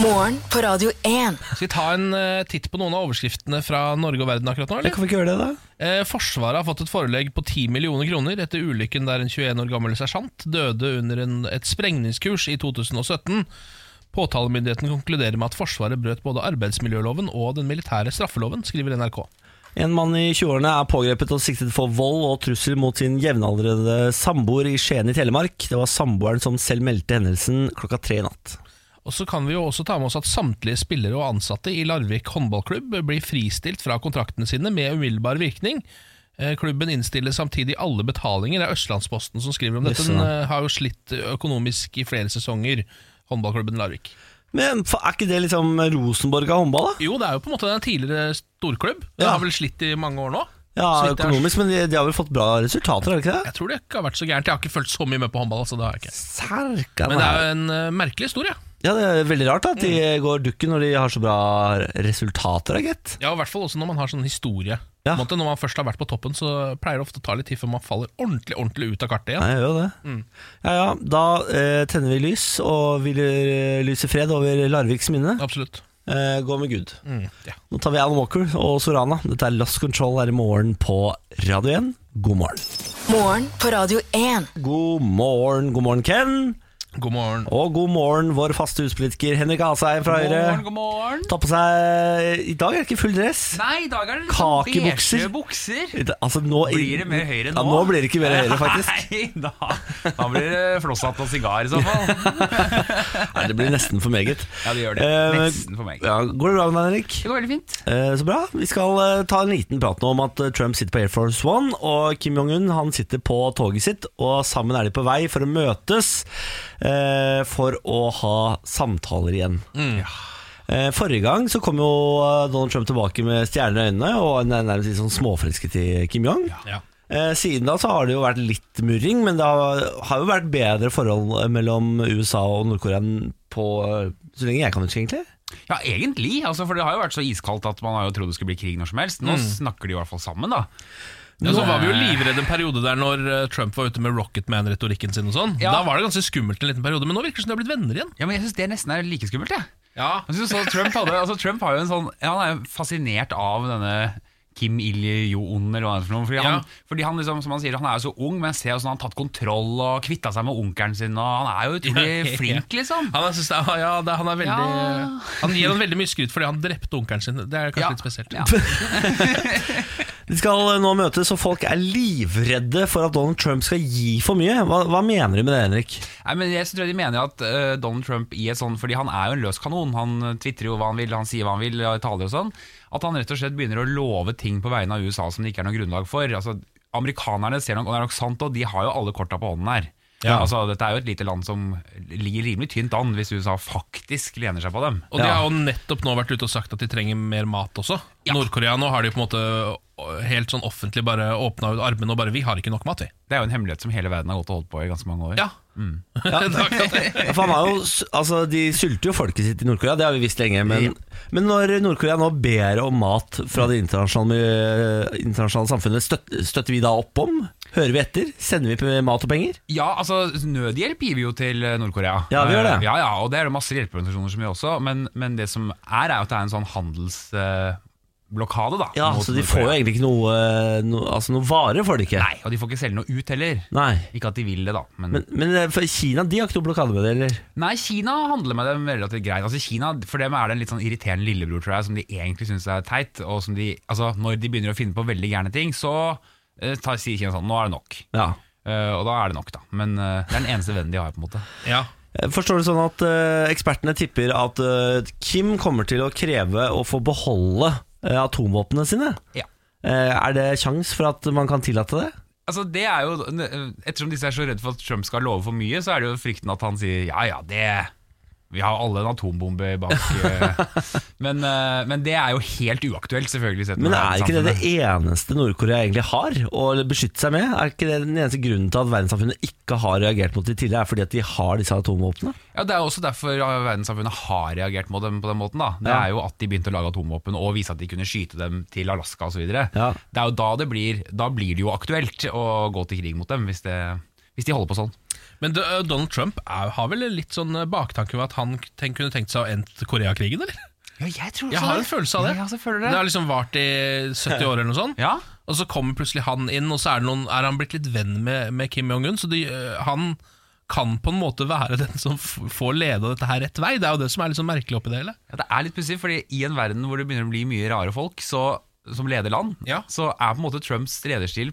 Speaker 4: Morgen på Radio 1.
Speaker 2: Skal vi ta en eh, titt på noen av overskriftene fra Norge og verden akkurat nå,
Speaker 1: Jeg
Speaker 2: eller?
Speaker 1: kan vi ikke gjøre det, da?
Speaker 2: Eh, Forsvaret har fått et forelegg på 10 millioner kroner etter ulykken der en 21 år gammel sersjant døde under en, et sprengningskurs i 2017. Påtalemyndigheten konkluderer med at Forsvaret brøt både arbeidsmiljøloven og den militære straffeloven, skriver NRK.
Speaker 1: En mann i 20-årene er pågrepet og siktet for vold og trussel mot sin jevnaldrende samboer i Skien i Telemark. Det var samboeren som selv meldte hendelsen klokka tre i natt.
Speaker 2: Og så kan vi jo også ta med oss at samtlige spillere og ansatte i Larvik håndballklubb blir fristilt fra kontraktene sine med umiddelbar virkning. Eh, Klubben innstiller samtidig alle betalinger. Det er Østlandsposten som skriver om dette. Den
Speaker 1: Jøsse.
Speaker 2: eh, har jo slitt økonomisk i flere sesonger, håndballklubben Larvik.
Speaker 1: Men fa- er ikke det liksom Rosenborg av håndball, da?
Speaker 2: Jo, det er jo på en måte en tidligere storklubb. Den
Speaker 1: Ja.
Speaker 2: har vel slitt i mange år nå.
Speaker 1: Ja,
Speaker 2: Så vidt jeg har-
Speaker 1: økonomisk, men de, de har vel fått bra resultater, har de ikke det?
Speaker 2: Jeg tror det ikke har vært så gærent. Jeg har ikke følt så mye med på håndball. Altså, det har jeg ikke.
Speaker 1: Serka
Speaker 2: Men det er jo en eh, merkelig historie.
Speaker 1: Ja, det er veldig rart da, at de
Speaker 5: Mm.
Speaker 1: går dukken når de har så bra resultater, da, gitt.
Speaker 2: Ja, og I hvert fall også når man har sånn historie. På
Speaker 1: Ja.
Speaker 2: en måte, når man først har vært på toppen, så pleier det ofte å ta litt tid før man faller ordentlig ordentlig ut av kartet igjen.
Speaker 1: Nei, jeg gjør jo det.
Speaker 5: Mm.
Speaker 1: Ja, ja, da eh, tenner vi lys, og vi eh, lyser fred over Larviks minne.
Speaker 2: Absolutt.
Speaker 1: Eh, gå med Gud.
Speaker 2: Mm, ja.
Speaker 1: Nå tar vi Alan Walker og Sorana. Dette er Lost Control her i morgen på Radio 1. God morgen.
Speaker 4: Morgen på Radio 1.
Speaker 1: God morgen, god morgen Ken.
Speaker 2: God morgen.
Speaker 1: Og god morgen vår faste huspolitiker Henrik Asheim fra
Speaker 5: God morgen,
Speaker 1: Høyre.
Speaker 5: god morgen.
Speaker 1: Ta på seg I dag er det ikke full dress.
Speaker 5: Nei, i dag er det sånn
Speaker 1: Kakebukser.
Speaker 5: beige bukser.
Speaker 1: I dag- Altså, nå,
Speaker 5: Blir det mer
Speaker 1: Ja,
Speaker 5: høyre nå?
Speaker 1: nå blir det ikke mer høyre, faktisk.
Speaker 5: Nei, da, da blir det flosshatt og sigar i så fall.
Speaker 1: Nei, det blir nesten for meget.
Speaker 5: Ja, det gjør det.
Speaker 1: Eh,
Speaker 5: Nesten for meg.
Speaker 1: Ja, går det bra med deg, Henrik?
Speaker 5: Det går veldig fint.
Speaker 1: Eh, Så bra. Vi skal eh, ta en liten prat nå om at eh, Trump sitter på Air Force One, og Kim Jong-un han sitter på toget sitt, og sammen er de på vei for å møtes eh, for å ha samtaler igjen.
Speaker 2: Mm.
Speaker 1: Eh, Forrige gang så kom jo eh, Donald Trump tilbake med stjernene i øynene og en nærmest litt sånn småforelsket i Kim Jong.
Speaker 2: Ja.
Speaker 1: Eh, Siden da så har det jo vært litt murring, men det har, har jo vært bedre forhold eh, mellom USA og Nord-Korea enn på eh, så lenge jeg kan huske, egentlig.
Speaker 5: Ja, egentlig. Altså, for det har jo vært så iskaldt at man har jo trodd det skulle bli krig når som helst.
Speaker 1: Mm.
Speaker 5: Nå snakker de i hvert fall sammen, da.
Speaker 2: Ja, så var vi jo livredde en periode der når eh, Trump var ute med Rocketman-retorikken sin. og sånn
Speaker 5: Ja.
Speaker 2: Da var det ganske skummelt en liten periode, men nå virker det som de har blitt venner igjen.
Speaker 5: Ja, men jeg syns det nesten er like skummelt, jeg.
Speaker 2: Ja,
Speaker 5: Jeg synes også Trump, hadde, altså Trump har jo en sånn ja, Han er jo fascinert av denne Kim Il-jo-on, eller hva det er for noe. Fordi, han,
Speaker 2: Ja.
Speaker 5: fordi han liksom, som han sier, han er jo så ung, men jeg ser jo sånn han har tatt kontroll og kvitta seg med onkelen sin, og han er jo
Speaker 2: Ja, ja.
Speaker 5: utrolig flink, liksom.
Speaker 2: Han er, synes det, er- ja, det, han er veldig
Speaker 5: Ja.
Speaker 2: Han gir han veldig mye skryt fordi han drepte onkelen sin. Det er kanskje
Speaker 5: Ja.
Speaker 2: litt spesielt.
Speaker 5: Ja.
Speaker 1: De skal eh, nå møtes, og folk er livredde for at Donald Trump skal gi for mye. Hva, hva mener du med det, Henrik?
Speaker 5: Nei, men jeg tror de mener at eh, Donald Trump i et sånn Fordi han er jo en løs kanon. Han tvitrer jo hva han vil, han sier hva han vil, og taler og sånn. At han rett og slett begynner å love ting på vegne av USA som det ikke er noe grunnlag for. Altså, Amerikanerne ser nok, og det er nok sant, og de har jo alle korta på hånden her.
Speaker 1: Ja.
Speaker 5: Altså, dette er jo et lite land som ligger rimelig tynt an hvis USA faktisk lener seg på dem.
Speaker 2: Og de
Speaker 1: Ja.
Speaker 2: har jo nettopp nå vært ute og sagt at de trenger mer mat også. Nord-Korea nå har de på en måte øh, helt sånn offentlig bare åpna ut armene og bare 'vi har ikke nok mat', vi.
Speaker 5: Det er jo en hemmelighet som hele verden har gått og holdt på i ganske mange år.
Speaker 2: Ja. det er akkurat det.
Speaker 1: Ja, For han har jo, s- altså, de sulter jo folket sitt i Nord-Korea, det har vi visst lenge. Men, men når Nord-Korea nå ber om mat fra det internasjonale, eh, internasjonale samfunnet, støtter, støtter vi da opp om? Hører vi etter? Sender vi p- mat og penger?
Speaker 5: Ja, altså Nødhjelp gir vi jo til eh, Nord-Korea.
Speaker 1: Ja, vi gjør det.
Speaker 5: Eh, Ja, ja, og det er det masse hjelpeorganisasjoner som gjør også. Men, men det som er, er jo at det er en sånn handelsblokade, da.
Speaker 1: Ja,
Speaker 5: mot
Speaker 1: Så de får jo
Speaker 5: Nord-Korea.
Speaker 1: egentlig ikke noe, eh, no, altså noe vare for det ikke.
Speaker 5: Nei, og de får ikke selge noe ut heller.
Speaker 1: Nei.
Speaker 5: Ikke at de vil det, da. Men,
Speaker 1: Men, men eh, for Kina de har ikke noe blokade med det, eller?
Speaker 5: nei, Kina handler med dem relativt greit. Altså Kina, For dem er det en litt sånn irriterende lillebror, tror jeg, som de egentlig syns er teit. Og som de, altså når de begynner å finne på veldig gærne ting, så eh, tar, sier Kina sånn Nå er det nok.
Speaker 1: Ja.
Speaker 5: Eh, og da er det nok, da. Men eh, det er den eneste vennen de har, på en måte.
Speaker 2: Ja.
Speaker 1: Jeg Forstår det sånn at eh, ekspertene tipper at eh, Kim kommer til å kreve å få beholde eh, atomvåpnene sine?
Speaker 5: Ja.
Speaker 1: Eh, er det sjans for at man kan tillate det?
Speaker 5: Altså det er jo, Ettersom disse er så redde for at Trump skal love for mye, så er det jo frykten at han sier ja ja, det Vi har alle en atombombe bak eh». men, eh, men det er jo helt uaktuelt, selvfølgelig. Sett med
Speaker 1: Men er ikke det
Speaker 5: verdenssamfunnet.
Speaker 1: det eneste Nord-Korea egentlig har å beskytte seg med? Er ikke det den eneste grunnen til at verdenssamfunnet ikke har reagert mot det tidligere, er fordi at de har disse atomvåpnene?
Speaker 5: Ja, Det er jo også derfor ja, verdenssamfunnet har reagert mot dem på den måten. da Det
Speaker 1: Ja.
Speaker 5: er jo at de begynte å lage atomvåpen og vise at de kunne skyte dem til Alaska osv.
Speaker 1: Ja.
Speaker 5: Det er jo da det blir Da blir det jo aktuelt å gå til krig mot dem, hvis, det, hvis de holder på sånn.
Speaker 2: Men det, øh, Donald Trump er, har vel litt sånn øh, baktanke ved at han tenk, kunne tenkt seg å endt Koreakrigen, eller?
Speaker 5: Ja, jeg tror
Speaker 2: Jeg har en følelse av det.
Speaker 5: Ja, altså, føler
Speaker 2: Det
Speaker 5: det.
Speaker 2: har liksom vart i 70 år eller noe sånt.
Speaker 5: Ja.
Speaker 2: Og så kommer plutselig han inn, og så er, det noen, er han blitt litt venn med, med Kim Jong-un. Så de, øh, han kan på en måte være den som f får leda dette her rett vei. Det er jo det som er litt sånn merkelig oppi det hele.
Speaker 5: Ja, det er litt pussig, fordi i en verden hvor det begynner å bli mye rare folk så, som leder land,
Speaker 2: Ja.
Speaker 5: så er på en måte Trumps lederstil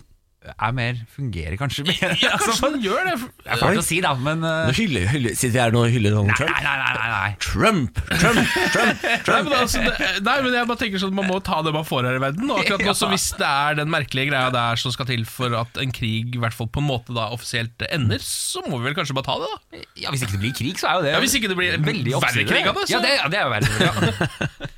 Speaker 5: er mer, fungerer kanskje bedre.
Speaker 2: Ja,
Speaker 5: Altså,
Speaker 2: kanskje han gjør det.
Speaker 5: det er fælt å si, da, men uh,
Speaker 1: Nå
Speaker 5: nei,
Speaker 1: hyller, hyller, sitter jeg her nå og hyller Donald
Speaker 5: nei, nei, nei, nei.
Speaker 1: Trump? Trump, Trump, Trump,
Speaker 2: Nei, men, altså, det, nei, men jeg bare tenker sånn Man må ta det man får her i verden. Og akkurat nå, så Hvis det er den merkelige greia der som skal til for at en krig i hvert fall på en måte da offisielt ender, så må vi vel kanskje bare ta det, da.
Speaker 5: Ja, Hvis ikke det blir krig, så er jo det
Speaker 2: Ja, Hvis ikke det blir
Speaker 5: veldig
Speaker 2: verre
Speaker 5: oppsidig.
Speaker 2: krig av det, så
Speaker 5: Ja, det, ja, det er jo verre. Ja.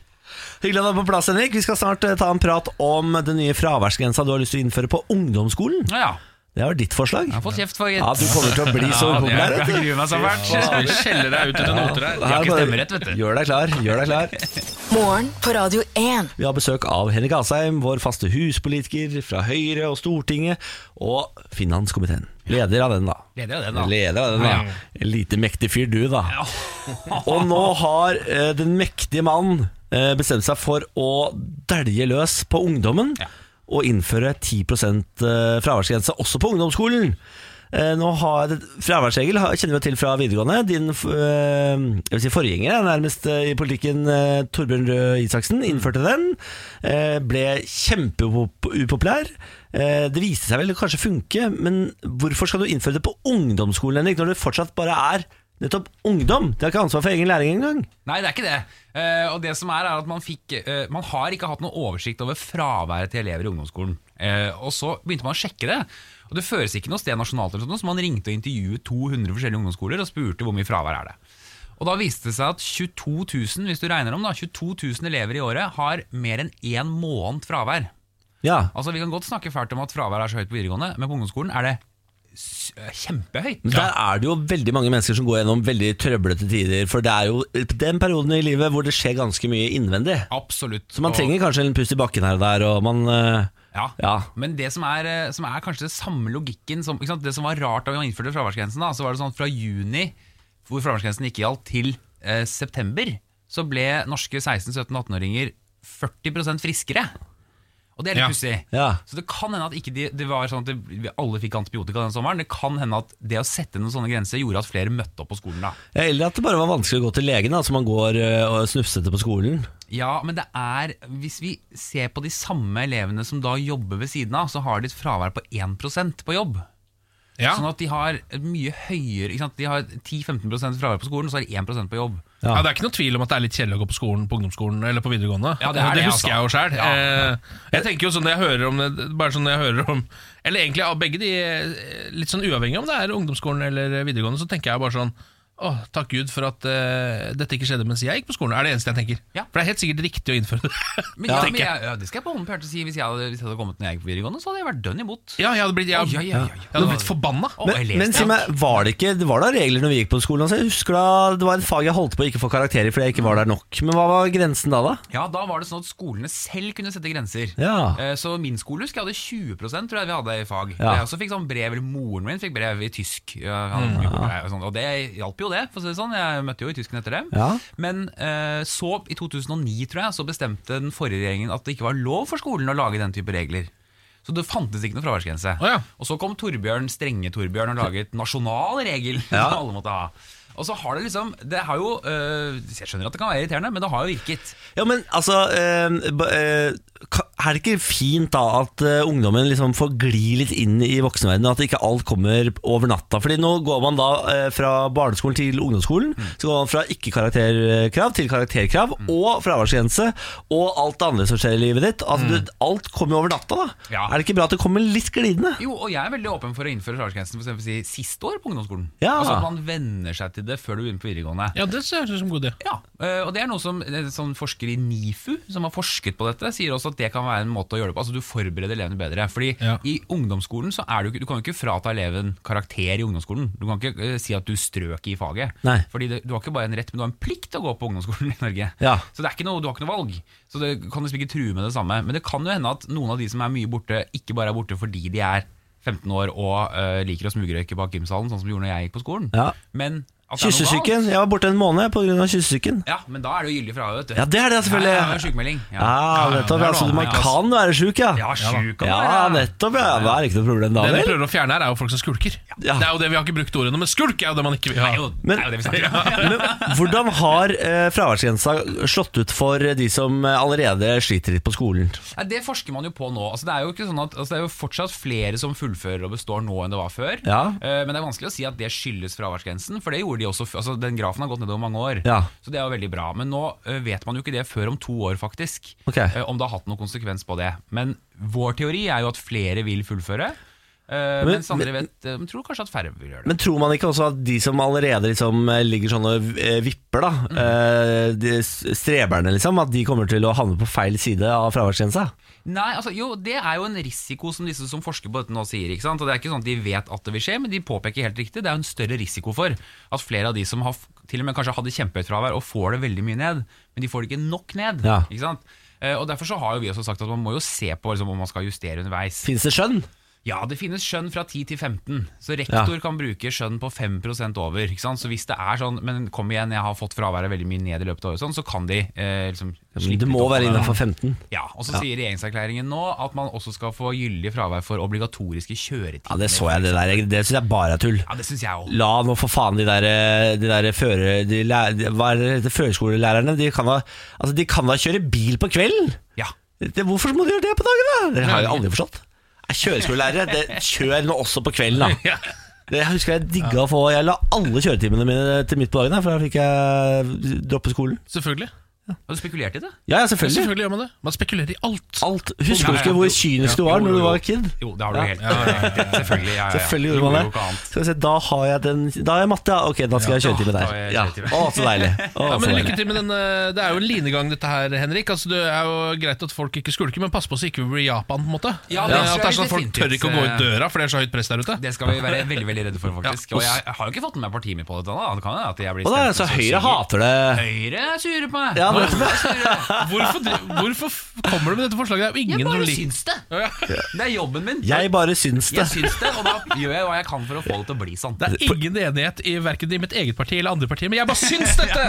Speaker 1: Hyggelig at du er på plass, Henrik. Vi skal snart eh, ta en prat om den nye fraværsgrensa du har lyst til å innføre på ungdomsskolen.
Speaker 5: Ja, ja.
Speaker 1: Det var ditt forslag.
Speaker 5: Jeg har fått kjeft for
Speaker 1: Ja, du kommer til å bli så
Speaker 5: Ja, det
Speaker 1: upopulær. vet
Speaker 5: er-
Speaker 1: du.
Speaker 5: Jeg gruer meg så fælt.
Speaker 2: Vi skjeller deg ut etter noter her.
Speaker 5: har ikke
Speaker 1: Her bare-
Speaker 5: stemmerett, vet du.
Speaker 1: Gjør deg klar. gjør deg klar
Speaker 4: Morgen på Radio 1.
Speaker 1: Vi har besøk av Henrik Asheim, vår faste huspolitiker fra Høyre og Stortinget, og finanskomiteen. Leder av den, da.
Speaker 5: Leder av den, da.
Speaker 1: Leder av den, da. En lite mektig fyr du, da. Og nå har eh, den mektige mannen eh, bestemt seg for å dælje løs på ungdommen og innføre 10 eh, fraværsgrense også på ungdomsskolen. Eh, nå har Fraværsregel har- kjenner vi til fra videregående. Din f- eh, jeg vil si forgjenger eh, nærmest eh, i politikken, eh, Torbjørn Røe Isaksen, innførte den. Eh, ble kjempeupopulær. Eh, det viste seg vel å kanskje funke, men hvorfor skal du innføre det på ungdomsskolen, Henrik, når det fortsatt bare er nettopp ungdom? De har ikke ansvar for egen læring engang.
Speaker 5: Nei, det er ikke det. Eh, og det som er, er at man fikk eh, Man har ikke hatt noen oversikt over fraværet til elever i ungdomsskolen. Eh, og så begynte man å sjekke det. Og det føres ikke noe sted nasjonalt, eller sånt, så man ringte og intervjuet 200 forskjellige ungdomsskoler og spurte hvor mye fravær er det. Og da viste det seg at 22 000, hvis du regner om da, 22 000 elever i året har mer enn én måned fravær.
Speaker 1: Ja,
Speaker 5: Altså Vi kan godt snakke fælt om at fravær er så høyt på videregående, men på ungdomsskolen er det s- kjempehøyt.
Speaker 1: Men Der er det jo veldig mange mennesker som går gjennom veldig trøblete tider. For det er jo den perioden i livet hvor det skjer ganske mye innvendig.
Speaker 5: Absolutt.
Speaker 1: Så man
Speaker 5: Og-
Speaker 1: trenger kanskje en pust i bakken her og der, og man eh,
Speaker 5: Ja.
Speaker 1: Ja.
Speaker 5: Men det som er, eh, som er kanskje det samme logikken som, ikke sant? Det som var rart da vi innførte fraværsgrensen, da, så var det sånn at fra juni, hvor fraværsgrensen ikke gjaldt, til eh, september, så ble norske 16-17-18-åringer 40 friskere. Og det er litt
Speaker 2: Ja.
Speaker 5: pussig.
Speaker 1: Ja.
Speaker 5: Så det kan hende at ikke de, det var sånn at det, alle fikk antibiotika den sommeren. Det kan hende at det å sette noen sånne grenser gjorde at flere møtte opp på skolen da.
Speaker 1: Eller at det bare var vanskelig å gå til legen, da, så man går eh, og snufsete på skolen.
Speaker 5: Ja, men det er Hvis vi ser på de samme elevene som da jobber ved siden av, så har de et fravær på 1 på jobb.
Speaker 2: Ja.
Speaker 5: Sånn at de har et mye høyere ikke sant? De har 10-15 fravær på skolen, og så har de 1 på jobb.
Speaker 2: Ja. Det er ikke noe tvil om at det er litt kjedelig å gå på skolen på ungdomsskolen eller på videregående.
Speaker 5: Ja, det er det,
Speaker 2: husker jeg jo
Speaker 5: altså.
Speaker 2: selv
Speaker 5: Ja.
Speaker 2: Eh, Jeg tenker jo sånn når jeg hører om det Bare sånn når jeg hører om Eller egentlig av begge de, eh, litt sånn uavhengig om det er ungdomsskolen eller videregående, så tenker jeg bare sånn Å, takk Gud for at eh, dette ikke skjedde mens jeg gikk på skolen. Er det eneste jeg tenker.
Speaker 5: Ja.
Speaker 2: For det er helt sikkert riktig å innføre det.
Speaker 5: Men, ja, men
Speaker 2: tenker jeg.
Speaker 5: jeg, ja, det skal jeg på hånden på hjertet si. Hvis jeg, hadde, hvis jeg hadde kommet når jeg gikk på videregående, så hadde jeg vært dønn imot.
Speaker 2: Ja, jeg hadde blitt, jeg,
Speaker 5: Oi, oi, oi, oi.
Speaker 2: Jeg hadde blitt forbanna.
Speaker 5: Å, jeg
Speaker 1: Men,
Speaker 5: leste
Speaker 1: men si
Speaker 5: det.
Speaker 1: meg, var det ikke Det var da regler når vi gikk på skolen? Altså, jeg husker da Det var et fag jeg holdt på å ikke få karakterer fordi jeg ikke var der nok. Men hva var grensen da, da?
Speaker 5: Ja, da var det sånn at skolene selv kunne sette grenser.
Speaker 1: Ja.
Speaker 5: Eh, Så min skole husker jeg hadde 20 tror jeg vi hadde i fag.
Speaker 1: Ja. Mm.
Speaker 5: Jeg også fikk sånn brev, eller Moren min fikk brev i tysk. Ja, han fikk brev og, sånn, og det hjalp jo, det. for å si det sånn Jeg møtte jo i tysken etter dem.
Speaker 1: Ja.
Speaker 5: Men eh, så, i 2009, tror jeg, så bestemte den forrige regjeringen at det ikke var lov for skolen å lage den type regler. Så det fantes ikke noen fraværsgrense.
Speaker 2: Å ja.
Speaker 5: Og så kom Torbjørn, strenge Torbjørn og laget nasjonal regel som alle måtte ha. Og så har det liksom Det har jo eh, Jeg skjønner at det kan være irriterende, men det har jo virket.
Speaker 1: Ja, men altså eh, ba- eh, ka- Er det ikke fint da at eh, ungdommen liksom får gli litt inn i voksenverdenen? At ikke alt kommer over natta? Fordi nå går man da eh, fra barneskolen til ungdomsskolen. Så går man fra ikke-karakterkrav til karakterkrav, og fraværsgrense, og alt det andre som skjer i livet ditt. At du, alt kommer over natta, da.
Speaker 5: Ja.
Speaker 1: Er det ikke bra at det kommer litt glidende?
Speaker 5: Jo, og jeg er veldig åpen for å innføre fraværsgrensen for eksempel si, siste år på ungdomsskolen.
Speaker 1: Ja.
Speaker 5: Altså at man venner seg til det før du begynner på videregående.
Speaker 2: Ja, det ser ut som god idé.
Speaker 5: Ja, eh, og det er noe som en sånn forsker i NIFU, som har forsket på dette, sier også at det kan være en måte å gjøre det på. Altså du forbereder elevene bedre. Fordi
Speaker 2: Ja.
Speaker 5: i ungdomsskolen så er du ikke Du kan jo ikke frata eleven karakter i ungdomsskolen. Du kan ikke eh, si at du strøk i faget.
Speaker 1: Nei.
Speaker 5: Fordi det, du har ikke bare en rett, men du har en plikt til å gå på ungdomsskolen i Norge.
Speaker 1: Ja.
Speaker 5: Så det er ikke noe, du har ikke noe valg. Så det kan liksom ikke true med det samme. Men det kan jo hende at noen av de som er mye borte, ikke bare er borte fordi de er 15 år og eh, liker å smugrøyke bak gymsalen, sånn som de gjorde når jeg gikk på skolen.
Speaker 1: Ja.
Speaker 5: Men at det er noe galt.
Speaker 1: Kyssesyken. Jeg var borte en måned pga. kyssesyken.
Speaker 5: Ja, men da er det jo gyldig fravær, vet du.
Speaker 1: Ja, det er det, selvfølgelig.
Speaker 5: Ja, ja, sykemelding. Ja.
Speaker 1: Ja, Ah, nettopp.
Speaker 2: det er
Speaker 1: Ja, så
Speaker 2: noe
Speaker 1: man
Speaker 2: annet, altså.
Speaker 1: kan være sjuk, ja.
Speaker 5: Ja, sjuk kan man
Speaker 1: Ja,
Speaker 5: være.
Speaker 1: nettopp. Ja. Det er ikke noe problem da,
Speaker 2: Det vi
Speaker 1: vel?
Speaker 2: prøver å fjerne her, er jo folk som skulker.
Speaker 1: Ja.
Speaker 2: Det er jo det Vi har ikke brukt ordet nå, men skulk er jo det man ikke vil ha.
Speaker 5: Det er jo,
Speaker 1: Men-
Speaker 5: det er jo det vi snakker om.
Speaker 1: Men hvordan har eh, fraværsgrensa slått ut for de som eh, allerede sliter litt på skolen?
Speaker 5: Ja, det forsker man jo på nå. Altså, det, er jo ikke sånn at, altså, det er jo fortsatt flere som fullfører og består nå enn det var før.
Speaker 1: Ja.
Speaker 5: Eh, men det er vanskelig å si at det skyldes fraværsgrensen, for det gjorde de også f- altså, Den grafen har gått nedover mange år,
Speaker 1: Ja.
Speaker 5: så det er jo veldig bra. Men nå eh, vet man jo ikke det før om to år, faktisk.
Speaker 1: Ok.
Speaker 5: Eh, om det har hatt noen konsekvens på det. Men vår teori er jo at flere vil fullføre. eh,
Speaker 1: Men-
Speaker 5: mens andre vet, eh, tror kanskje at færre vil gjøre det.
Speaker 1: Men tror man ikke også at de som allerede liksom eh, ligger sånn og eh, vipper, da,
Speaker 5: Mm.
Speaker 1: eh, de s- streberne, liksom, at de kommer til å havne på feil side av fraværsgrensa?
Speaker 5: Nei, altså jo, Det er jo en risiko som disse som forsker på dette nå sier. ikke sant? Og Det er ikke sånn at de vet at det vil skje, men de påpeker helt riktig. Det er jo en større risiko for at flere av de som har, f- til og med kanskje hadde kjempehøyt fravær og får det veldig mye ned, men de får det ikke nok ned.
Speaker 1: Ja.
Speaker 5: ikke sant? Eh, Og Derfor så har jo vi også sagt at man må jo se på liksom, om man skal justere underveis.
Speaker 1: Fins det skjønn?
Speaker 5: Ja, det finnes skjønn fra 10 til 15, så rektor kan bruke skjønn på 5 over. Ikke sant? Så hvis det er sånn, men kom igjen, jeg har fått fraværet veldig mye ned i løpet av året, sånn, så kan de eh, liksom slippe
Speaker 1: Det
Speaker 5: litt
Speaker 1: må
Speaker 5: opp på
Speaker 1: være
Speaker 5: det.
Speaker 1: innafor 15.
Speaker 5: Ja, og så sier regjeringserklæringen nå at man også skal få gyldig fravær for obligatoriske kjøretimer.
Speaker 1: Ja, det så jeg, det der. Det syns jeg bare er tull.
Speaker 5: Ja, det syns jeg òg.
Speaker 1: La nå for faen de der, eh, de der føre, de læ- de, hva er det det heter, førskolelærerne de kan, da, altså de kan da kjøre bil på kvelden?
Speaker 5: Ja.
Speaker 1: Det, hvorfor må de gjøre det på dagen, da? Det har jeg aldri forstått. Jeg kjøreskolelærere, det kjør nå også på kvelden, da.
Speaker 2: Ja.
Speaker 1: Det jeg husker jeg digga å få Jeg la alle kjøretimene mine til midt på dagen, da, for da fikk jeg droppe skolen.
Speaker 2: Selvfølgelig.
Speaker 5: Har du spekulert i det?
Speaker 1: Ja, ja, selvfølgelig.
Speaker 2: Selvfølgelig gjør man det. Man spekulerer i alt.
Speaker 1: Alt. Husker du
Speaker 5: Ja, ja,
Speaker 1: ikke hvor
Speaker 5: jo,
Speaker 1: kynisk
Speaker 5: ja,
Speaker 1: du var
Speaker 5: jo,
Speaker 1: når
Speaker 5: jo,
Speaker 1: du
Speaker 5: jo.
Speaker 1: var kid?
Speaker 5: Jo, det har du helt Selvfølgelig. Ja, ja, ja.
Speaker 1: Selvfølgelig gjorde man
Speaker 5: jo ikke
Speaker 1: det.
Speaker 5: annet.
Speaker 1: Skal vi se, da har jeg den Da har jeg matte, ja. Ok, da skal jeg ha kjøretime
Speaker 5: da
Speaker 1: der.
Speaker 5: har jeg
Speaker 1: Ja.
Speaker 5: kjøretime.
Speaker 1: Å, så deilig. Å,
Speaker 2: Ja,
Speaker 1: så
Speaker 2: men
Speaker 1: deilig.
Speaker 2: lykke til med den eh, Det er jo en linegang dette her, Henrik. Altså, det er jo greit at folk ikke skulker, men pass på så ikke vi blir Japan. på en måte
Speaker 5: Ja,
Speaker 2: det er, At
Speaker 5: det tror
Speaker 2: det er
Speaker 5: jeg
Speaker 2: sånn at Folk
Speaker 5: definitivt,
Speaker 2: tør ikke å gå ut
Speaker 5: eh,
Speaker 2: døra, for det er så høyt press der ute.
Speaker 5: Det skal vi være veldig veldig redde for,
Speaker 2: Ja,
Speaker 5: faktisk.
Speaker 2: og
Speaker 5: Og
Speaker 2: s-
Speaker 5: jeg har jo ikke fått med meg partiet mitt på dette. Da. Det kan hende at jeg blir
Speaker 1: Og da,
Speaker 5: stemt
Speaker 1: så
Speaker 5: som
Speaker 1: Høyre
Speaker 5: sier-
Speaker 1: hater det.
Speaker 5: Høyre er sure på meg!
Speaker 1: Ja,
Speaker 5: Nå er
Speaker 1: det-
Speaker 5: Høyre sure.
Speaker 2: Hvorfor, dri- hvorfor f- kommer du med dette forslaget? Det er jo
Speaker 5: Jeg
Speaker 2: ingen som
Speaker 5: bare
Speaker 2: liker
Speaker 5: syns det!
Speaker 2: Ja, ja.
Speaker 5: Det er jobben min.
Speaker 1: Jeg bare syns det.
Speaker 5: Jeg syns det, og da gjør jeg hva jeg kan for å få det til å bli sånn.
Speaker 2: Det er ingen enighet i verken i mitt eget parti eller andre partier, men jeg bare syns dette!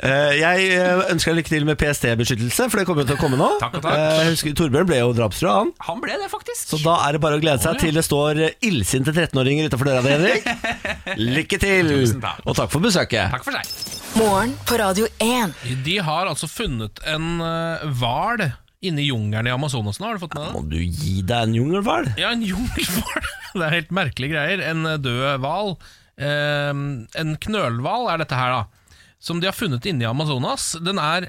Speaker 1: Eh, Jeg eh, ønsker deg lykke til med PST-beskyttelse, for det kommer jo til å komme nå.
Speaker 5: Takk og takk.
Speaker 1: Eh, jeg husker, Torbjørn ble jo drapstrua, han.
Speaker 5: Han ble det, faktisk.
Speaker 1: Så da er det bare å glede seg til det står eh, illsinte 13-åringer utafor døra di, Henrik. Lykke til!
Speaker 5: Tusen takk.
Speaker 1: Og takk for besøket.
Speaker 5: Takk for seg.
Speaker 4: Morgen på Radio 1.
Speaker 2: De har altså funnet en eh, hval inne i jungelen i Amazonas nå, har du fått med deg det?
Speaker 1: Må du gi deg en jungelhval?
Speaker 2: Ja, en jungelhval! Det er helt merkelige greier. En eh, død hval. Eh, en knølhval er dette her, da. Som de har funnet inne i Amazonas. Den er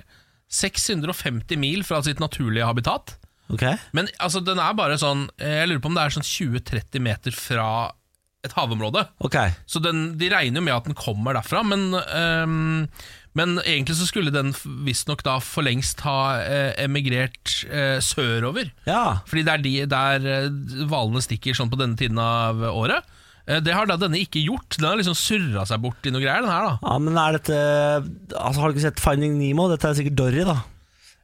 Speaker 2: 650 mil fra sitt naturlige habitat.
Speaker 1: Ok
Speaker 2: Men altså, den er bare sånn eh, Jeg lurer på om det er sånn 20-30 meter fra et havområde.
Speaker 1: Ok
Speaker 2: Så den, de regner jo med at den kommer derfra, men, ehm, men egentlig så skulle den f- visstnok da for lengst ha eh, emigrert eh, sørover.
Speaker 1: Ja
Speaker 2: Fordi det er de, der eh, hvalene stikker sånn på denne tiden av året. Eh, det har da denne ikke gjort. Den har liksom surra seg bort i noe greier, den her da.
Speaker 1: ja, men er dette altså, Har du ikke sett Finding Nemo? Dette er sikkert Dory da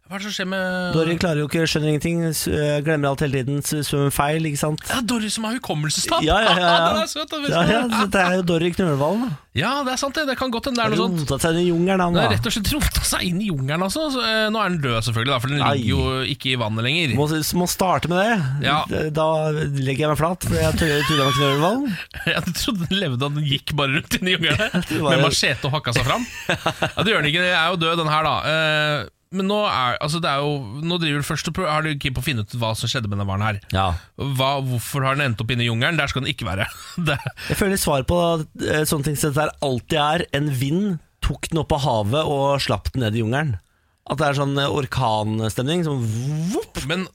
Speaker 2: Hva er det som skjer med
Speaker 1: Dory klarer jo ikke, skjønner ingenting s- øh, Glemmer alt hele tiden, s- svømmer feil, ikke sant?
Speaker 2: Ja, Dory som har hukommelsestap!
Speaker 1: Ja, ja, ja, ja.
Speaker 2: den er søt! da, vet du.
Speaker 1: Ja, ja, dette er jo Dory Knølvalen
Speaker 2: ja, det er sant, det. Det kan godt hende det er noe sånt.
Speaker 1: Rotet seg inn i jungelen han
Speaker 2: Den
Speaker 1: da
Speaker 2: har rett og slett rota seg inn i jungelen, altså. Så, eh, nå er den død, selvfølgelig, da, for den
Speaker 1: Ai.
Speaker 2: ligger jo ikke i vannet lenger.
Speaker 1: må, må starte med det
Speaker 2: Ja.
Speaker 1: Da legger jeg meg flat For jeg tuller tuller med knølvalen
Speaker 2: Jeg trodde den levde at den gikk bare rundt inni jungelen
Speaker 1: tror bare-
Speaker 2: med machete og hakka seg fram. Ja, det gjør den ikke, den er jo død, den her, da. Eh, Men nå er, altså det er jo Nå driver du først og prøver, har du keen på å finne ut hva som skjedde med den hvalen her.
Speaker 1: Ja
Speaker 2: Hva, hvorfor har den endt opp inne i jungelen? Der skal den ikke være. Det,
Speaker 1: Jeg føler svar på eh, sånne ting som dette her alltid er en vind tok den opp av havet og slapp den ned i jungelen. At det er sånn eh, orkanstemning. Sånn vopp.
Speaker 2: men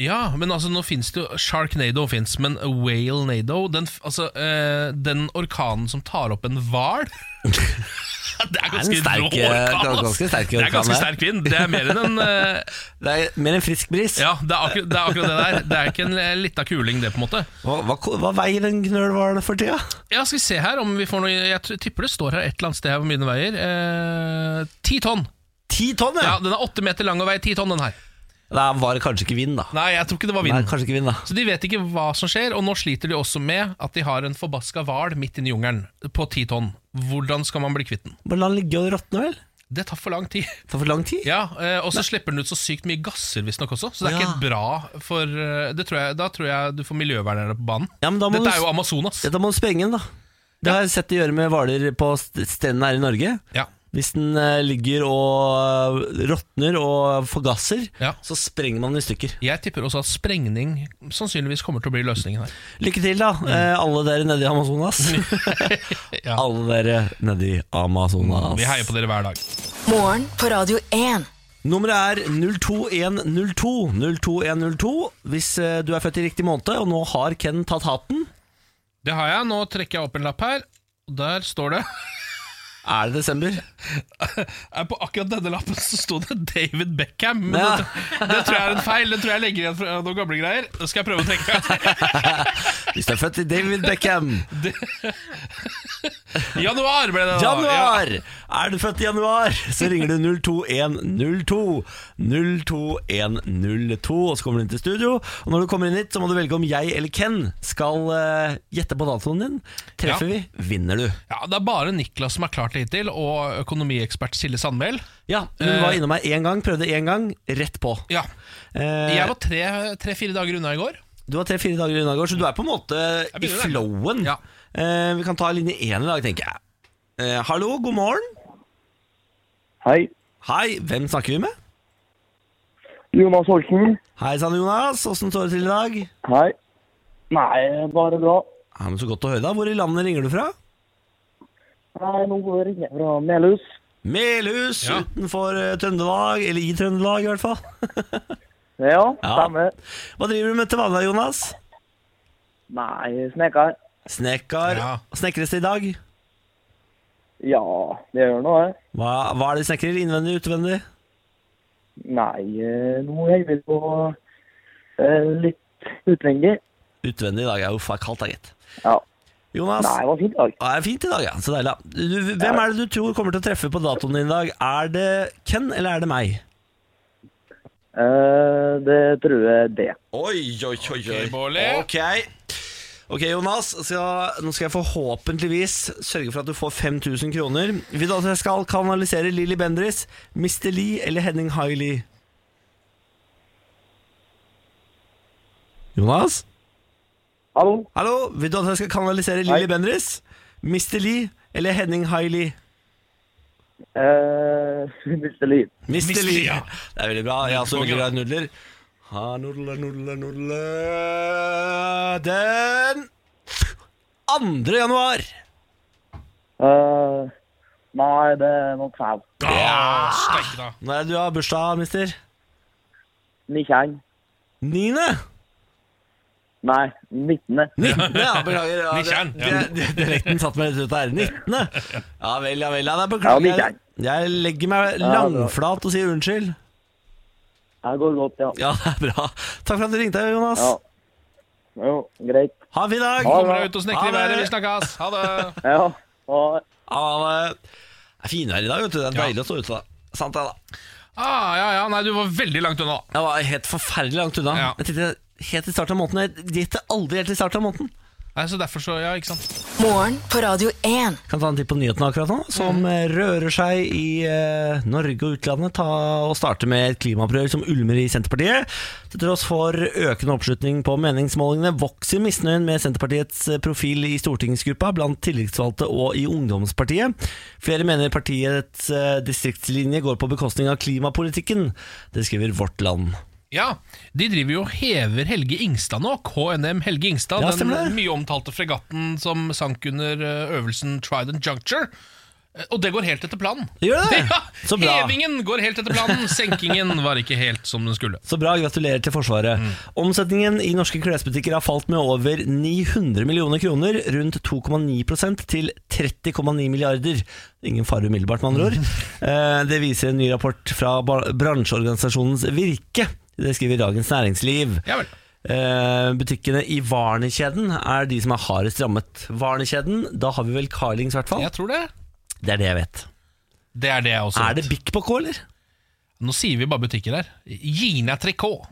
Speaker 2: ja, men altså nå fins det jo Sharknado fins, men Whale-nado den, f- altså, eh, den orkanen som tar opp en hval Det er ganske
Speaker 1: Det er en sterk,
Speaker 2: rå orkan!
Speaker 1: eh,
Speaker 2: ass.
Speaker 1: ganske sterk
Speaker 2: det er
Speaker 1: orkan,
Speaker 2: ganske
Speaker 1: det.
Speaker 2: sterk vind. Det er mer enn en eh,
Speaker 1: Det er mer en frisk bris.
Speaker 2: Ja, det er, akkurat, det er akkurat det der. Det er ikke en eh, lita kuling, det, på en måte.
Speaker 1: Hva, hva, hva veier en knølhval for tida?
Speaker 2: Ja, Skal vi se her om vi får noe Jeg t- tipper det står her et eller annet sted her hvor mye den veier. Eh, Ti tonn!
Speaker 1: Ti tonn,
Speaker 2: Ja,
Speaker 1: ja!
Speaker 2: Den er åtte meter lang og veier ti tonn, den her.
Speaker 1: Det var kanskje ikke vind, da.
Speaker 2: Nei, jeg tror ikke det var
Speaker 1: Nei,
Speaker 2: vind.
Speaker 1: kanskje ikke vind, da.
Speaker 2: Så de vet ikke hva som skjer, og nå sliter de også med at de har en forbaska hval midt inni jungelen på ti tonn. Hvordan skal man bli kvitt den?
Speaker 1: Bare la den ligge og råtne, vel.
Speaker 2: Det tar for lang tid.
Speaker 1: Det tar for lang tid.
Speaker 2: Ja, eh, Og så slipper den ut så sykt mye gasser, visstnok også, så det er
Speaker 1: Ja.
Speaker 2: ikke helt bra for eh, det tror jeg, Da tror jeg du får miljøvernere på banen.
Speaker 1: Ja, men da må
Speaker 2: Dette
Speaker 1: du-
Speaker 2: er jo Amazonas.
Speaker 1: Dette må du sprenge den, da. Det har jeg sett de gjøre med hvaler på st- strendene her i Norge.
Speaker 2: Ja.
Speaker 1: Hvis den eh, ligger og eh, råtner og forgasser,
Speaker 2: Ja.
Speaker 1: så sprenger man den i stykker.
Speaker 2: Jeg tipper også at sprengning sannsynligvis kommer til å bli løsningen her.
Speaker 1: Lykke til, da, eh, alle dere nede i Amazonas.
Speaker 2: Mm. Ja.
Speaker 1: alle dere nede i Amazonas.
Speaker 2: Vi heier på dere hver dag.
Speaker 4: Morgen på Radio 1.
Speaker 1: Nummeret er 02102. 02102 Hvis eh, du er født i riktig måned, og nå har Ken tatt hatten,
Speaker 2: Det har jeg. Nå trekker jeg opp en lapp her. Og Der står det
Speaker 1: er det desember.
Speaker 2: Eh, På akkurat denne lappen så sto det David Beckham. Men
Speaker 1: Ja.
Speaker 2: det, det tror jeg er en feil. Det tror jeg legger igjen fra noen gamle greier. Da skal jeg prøve å tenke.
Speaker 1: Hvis du er født i David Beckham.
Speaker 2: Januar ble det, da.
Speaker 1: Januar! Ah, Er du født i januar, så ringer du 02102. 02102, og så kommer du inn til studio. Og når du kommer inn hit, så må du velge om jeg eller Ken skal eh, gjette på datoen din. Treffer vi, vinner du.
Speaker 2: Ja. ja, Det er bare Niklas som har klart det hittil, og økonomiekspert Silje Sandmæl.
Speaker 1: Ja, hun
Speaker 2: Eh,
Speaker 1: var innom meg én gang, prøvde én gang, rett på.
Speaker 2: Ja.
Speaker 1: Eh,
Speaker 2: Jeg var tre- tre-fire dager unna i går.
Speaker 1: Du var tre-fire dager unna i går, så du er på en måte i
Speaker 2: begynner der.
Speaker 1: flowen.
Speaker 2: Ja.
Speaker 1: Eh, vi kan ta linje én i dag, tenker jeg. Eh, hallo, god morgen.
Speaker 6: Hei.
Speaker 1: Hei, hvem snakker vi med?
Speaker 6: Jonas Holten.
Speaker 1: Hei sann, Jonas. Åssen står det til i dag?
Speaker 6: Hei. Nei, bare bra.
Speaker 1: Ja, men Så godt å høre, da. Hvor i landet ringer du fra?
Speaker 6: Nei, nå ringer jeg fra Melhus.
Speaker 1: Melhus
Speaker 2: Ja.
Speaker 1: utenfor eh, Trøndelag, eller i Trøndelag i hvert fall.
Speaker 6: Ja,
Speaker 1: Ja.
Speaker 6: stemmer.
Speaker 1: Hva driver du med til vanlig, Jonas?
Speaker 6: Nei, snekker.
Speaker 1: Snekker.
Speaker 2: Ja.
Speaker 1: Snekres det i dag?
Speaker 6: Ja, det gjør noe. jeg.
Speaker 1: Hva, hva er det de snekrer? Innvendig, utvendig?
Speaker 6: Nei, eh, nå er vi på eh, litt utvendig.
Speaker 1: Utvendig i dag er jo faen kaldt, da, gitt.
Speaker 6: Ja.
Speaker 1: Jonas,
Speaker 6: Nei, det var fint dag.
Speaker 1: Ja, Det er fint i dag, ja. Så deilig. da. Du, hvem er det du tror kommer til å treffe på datoen din i dag? Er det Ken, eller er det meg?
Speaker 6: Eh, det tror jeg det.
Speaker 1: Oi, oi, oi, oi.
Speaker 2: Ok, Bårli.
Speaker 1: Ok, Ok, Jonas. Så nå skal jeg forhåpentligvis sørge for at du får 5000 kroner. Vil du at jeg skal kanalisere Lilly Bendris, Mr. Lee eller Henning Hailey? Jonas?
Speaker 6: Hallo?
Speaker 1: Hallo, vil du at jeg skal kanalisere Lilly Bendris, Mr. Lee eller Henning Hailey?
Speaker 6: Eh, eh, Mr. Lien.
Speaker 1: Mr. Lee.
Speaker 2: Lia.
Speaker 1: Det er veldig bra. Jeg er også veldig glad i nudler. Ha nudler, nudler, nudler Den 2. januar.
Speaker 6: Eh, nei, det er noe feil.
Speaker 2: Ja, steike da.
Speaker 1: Når er det du har bursdag, mister?
Speaker 6: Nikkjeng.
Speaker 1: 9. 19.
Speaker 6: Nei, 19.
Speaker 1: Ja, beklager. Ja,
Speaker 2: Nikkjern,
Speaker 1: det-
Speaker 2: ja.
Speaker 1: det- det- Dialekten satt meg litt ut der. 19. Ja vel, ja vel. Ja, det er
Speaker 6: Ja,
Speaker 1: beklager. Jeg,
Speaker 6: nikkjeng.
Speaker 1: jeg legger meg
Speaker 6: Ja, det er bra.
Speaker 1: langflat og sier unnskyld.
Speaker 6: Det går godt, ja.
Speaker 1: Ja, det er bra. Takk for at du ringte, Jonas.
Speaker 6: Ja. Jo, greit.
Speaker 1: Ha en fin dag!
Speaker 6: Ha det.
Speaker 2: Kommer deg ut og snekrer i
Speaker 1: Ha det.
Speaker 2: været. Vi snakkes. Ha det.
Speaker 6: Ja. Ha det.
Speaker 1: Ha det. Det er finvær i dag, vet du. Det er deilig å stå ute. da. Sant det, da.
Speaker 2: Ah, ja, ja, nei, du var veldig langt unna.
Speaker 1: Jeg var helt forferdelig langt unna.
Speaker 2: Ja.
Speaker 1: Jeg tenkte helt i starten av måneden. Jeg gjetter aldri helt i starten av måneden.
Speaker 2: Nei, så derfor så, ja, ikke sant.
Speaker 4: Morgen på Radio 1.
Speaker 1: Kan ta en titt på nyhetene akkurat nå, som eh, rører seg i eh, Norge og utlandet. Ta og Starte med et klimaopprør som ulmer i Senterpartiet. Til tross for økende oppslutning på meningsmålingene vokser misnøyen med Senterpartiets eh, profil i stortingsgruppa, blant tillitsvalgte og i ungdomspartiet. Flere mener partiets eh, distriktslinje går på bekostning av klimapolitikken. Det skriver Vårt Land.
Speaker 2: Ja, De driver jo og hever Helge Ingstad nå. KNM Helge Ingstad.
Speaker 1: Ja,
Speaker 2: den
Speaker 1: stemmer det.
Speaker 2: mye omtalte fregatten som sank under eh, øvelsen Trident Juncture. Eh, Og det går helt etter planen.
Speaker 1: Gjør det?
Speaker 2: Ja,
Speaker 1: Så bra.
Speaker 2: Hevingen går helt etter planen, senkingen var ikke helt som den skulle.
Speaker 1: Så bra, gratulerer til Forsvaret.
Speaker 2: Mm.
Speaker 1: Omsetningen i norske klesbutikker har falt med over 900 millioner kroner, rundt 2,9 til 30,9 milliarder. Ingen fare umiddelbart, med andre ord. Eh, Det viser en ny rapport fra ba- bransjeorganisasjonens Virke. Det skriver Dagens Næringsliv.
Speaker 2: Ja vel.
Speaker 1: Eh, Butikkene i Varnekjeden er de som er hardest rammet. Varnekjeden, da har vi vel Carlings, i hvert fall.
Speaker 2: Jeg tror det.
Speaker 1: Det er det jeg vet.
Speaker 2: Det er det jeg også
Speaker 1: Er det
Speaker 2: vet.
Speaker 1: Bik på K, eller?
Speaker 2: Nå sier vi bare butikker her. Gina Tricot.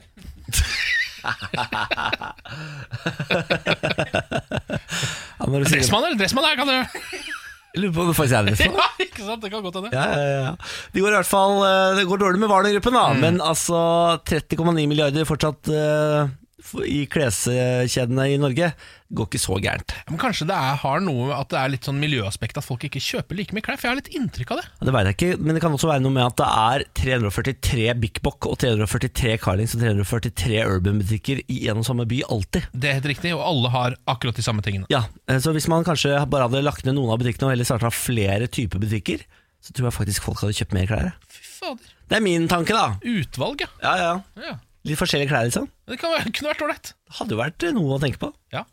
Speaker 1: Ja, når du sier-
Speaker 2: Dressmann eller dressmann her, kan du
Speaker 1: Jeg Lurer på om det faktisk er det.
Speaker 2: Ja, ikke sant? Det kan godt hende.
Speaker 1: Ja, ja, ja. Det går i hvert fall eh, Det går dårlig med Warner-gruppen, da. Men altså 30,9 milliarder fortsatt eh, f- i kleskjedene i Norge går ikke så gærent.
Speaker 2: Men kanskje det er, har noe med at det er litt sånn miljøaspekt at folk ikke kjøper like mye klær? For jeg har litt inntrykk av det.
Speaker 1: Det vet jeg ikke, men det kan også være noe med at det er 343 Big Bock og 343 Carlings og 343 Urban-butikker i en og samme by alltid.
Speaker 2: Det er helt riktig, og alle har akkurat de samme tingene.
Speaker 1: Ja, eh, Så hvis man kanskje bare hadde lagt ned noen av butikkene og heller starta flere typer butikker, så tror jeg faktisk folk hadde kjøpt mer klær.
Speaker 2: Fy fader.
Speaker 1: Det er min tanke, da.
Speaker 2: Utvalg, ja.
Speaker 1: Ja, ja.
Speaker 2: ja.
Speaker 1: Litt forskjellige klær, liksom.
Speaker 2: Det kan være, kunne vært ålreit.
Speaker 1: Det hadde jo vært eh, noe å tenke på.
Speaker 2: Ja.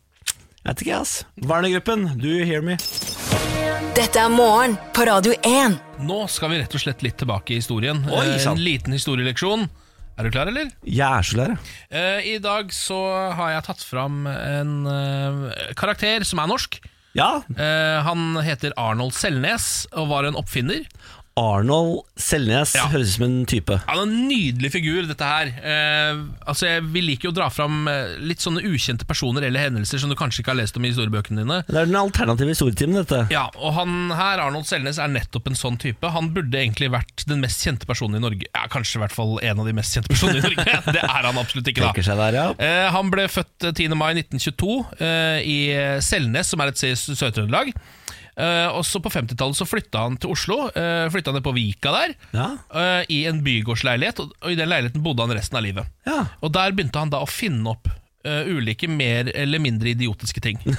Speaker 1: Jeg vet ikke, ass. Werner-gruppen, do you hear me?
Speaker 4: Dette er morgen på Radio 1.
Speaker 2: Nå skal vi rett og slett litt tilbake i historien.
Speaker 1: Oi,
Speaker 2: Eh,
Speaker 1: sant.
Speaker 2: en liten historieleksjon. Er du klar, eller?
Speaker 1: Jeg er så lei.
Speaker 2: Eh, I dag så har jeg tatt fram en eh, karakter som er norsk.
Speaker 1: Ja,
Speaker 2: Eh, han heter Arnold Selnes og var en oppfinner.
Speaker 1: Arnold Selnes
Speaker 2: Ja.
Speaker 1: høres ut som en type.
Speaker 2: Han er en nydelig figur, dette her. Eh, altså, jeg, Vi liker jo å dra fram eh, litt sånne ukjente personer eller hendelser som du kanskje ikke har lest om i historiebøkene dine.
Speaker 1: Det er den alternative historietimen, dette.
Speaker 2: Ja, og han her, Arnold Selnes, er nettopp en sånn type. Han burde egentlig vært den mest kjente personen i Norge. Ja, kanskje i hvert fall en av de mest kjente personene i Norge. Det er han absolutt ikke,
Speaker 1: Tenker
Speaker 2: da.
Speaker 1: seg der, ja.
Speaker 2: Eh, han ble født eh, 10. mai 1922 eh, i Selnes, som er et sted i Sør-Trøndelag. Eh, også på 50-tallet så flytta han til Oslo. Eh, flytta ned på Vika der,
Speaker 1: Ja,
Speaker 2: eh, i en bygårdsleilighet. Og, og i den leiligheten bodde han resten av livet.
Speaker 1: ja.
Speaker 2: Og der begynte han da å finne opp eh, ulike mer eller mindre idiotiske ting.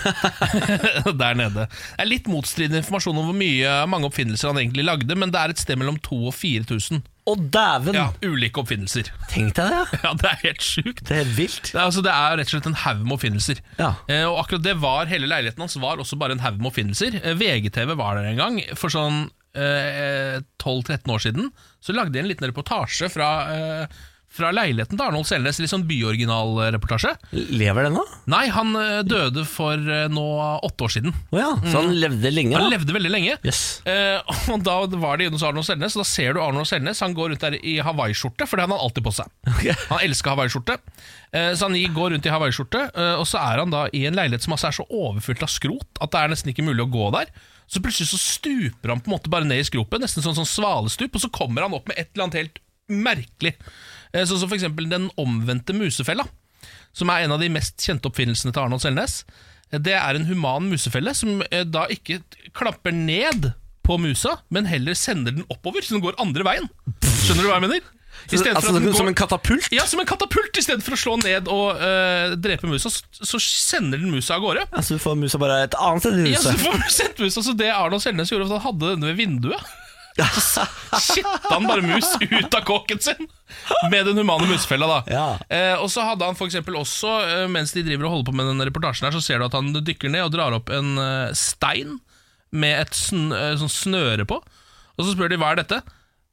Speaker 2: der nede. Det er litt motstridende informasjon om hvor mye mange oppfinnelser han egentlig lagde, men det er et sted mellom 2000 og 4000
Speaker 1: Og dæven!
Speaker 2: ja, ulike oppfinnelser.
Speaker 1: Tenk deg det, ja.
Speaker 2: Ja, det er helt sjukt.
Speaker 1: Det er helt vilt.
Speaker 2: Det er, altså, det er rett og slett en haug med oppfinnelser.
Speaker 1: Ja.
Speaker 2: Eh, og akkurat det var hele leiligheten hans var også bare en haug med oppfinnelser. Eh, VGTV var der en gang for sånn eh, 12-13 år siden. Så lagde de en liten reportasje fra, eh, fra leiligheten til Arnold Selnes. Litt sånn byoriginalreportasje.
Speaker 1: Lever den, da?
Speaker 2: Nei, han eh, døde for eh, nå åtte år siden.
Speaker 1: Å ja, så han levde lenge,
Speaker 2: Mm. Han
Speaker 1: da?
Speaker 2: levde veldig lenge.
Speaker 1: Jøss.
Speaker 2: Eh, og da var det inne hos Arnold Selnes, og da ser du Arnold Selnes. Han går rundt der i hawaiiskjorte, for det hadde han alltid på seg.
Speaker 1: Ok.
Speaker 2: Han elska hawaiiskjorte. Eh, så han gikk- går rundt i hawaiiskjorte, eh, og så er han da i en leilighet som altså er så overfylt av skrot at det er nesten ikke mulig å gå der. Så plutselig så stuper han på en måte bare ned i skropet, nesten sånn, sånn svalestup, og så kommer han opp med et eller annet helt merkelig. Eh, sånn som for eksempel den omvendte musefella som er en av de mest kjente oppfinnelsene til Arnold Selnes. Det er en human musefelle som eh, da ikke t- klapper ned på musa, men heller sender den oppover, så den går andre veien. Skjønner du hva jeg mener? I stedet for
Speaker 1: altså,
Speaker 2: at den
Speaker 1: som
Speaker 2: går-
Speaker 1: en katapult?
Speaker 2: ja, som en katapult! Istedenfor å slå ned og eh, drepe musa, så, så sender den musa av gårde.
Speaker 1: Altså, du får musa bare et annet sted i
Speaker 2: Ja, så
Speaker 1: huset.
Speaker 2: får du sendt musa, så det Arnold Selnes gjorde, var at han hadde denne ved vinduet. Kitta han bare mus ut av kåken sin med den humane musefella. da
Speaker 1: Ja.
Speaker 2: eh, Og så hadde han for eksempel også, eh, mens de driver og holder på med den reportasjen, her Så ser du at han dykker ned og drar opp en eh, stein med et sn eh, sånn snøre på. Og så spør de hva er dette.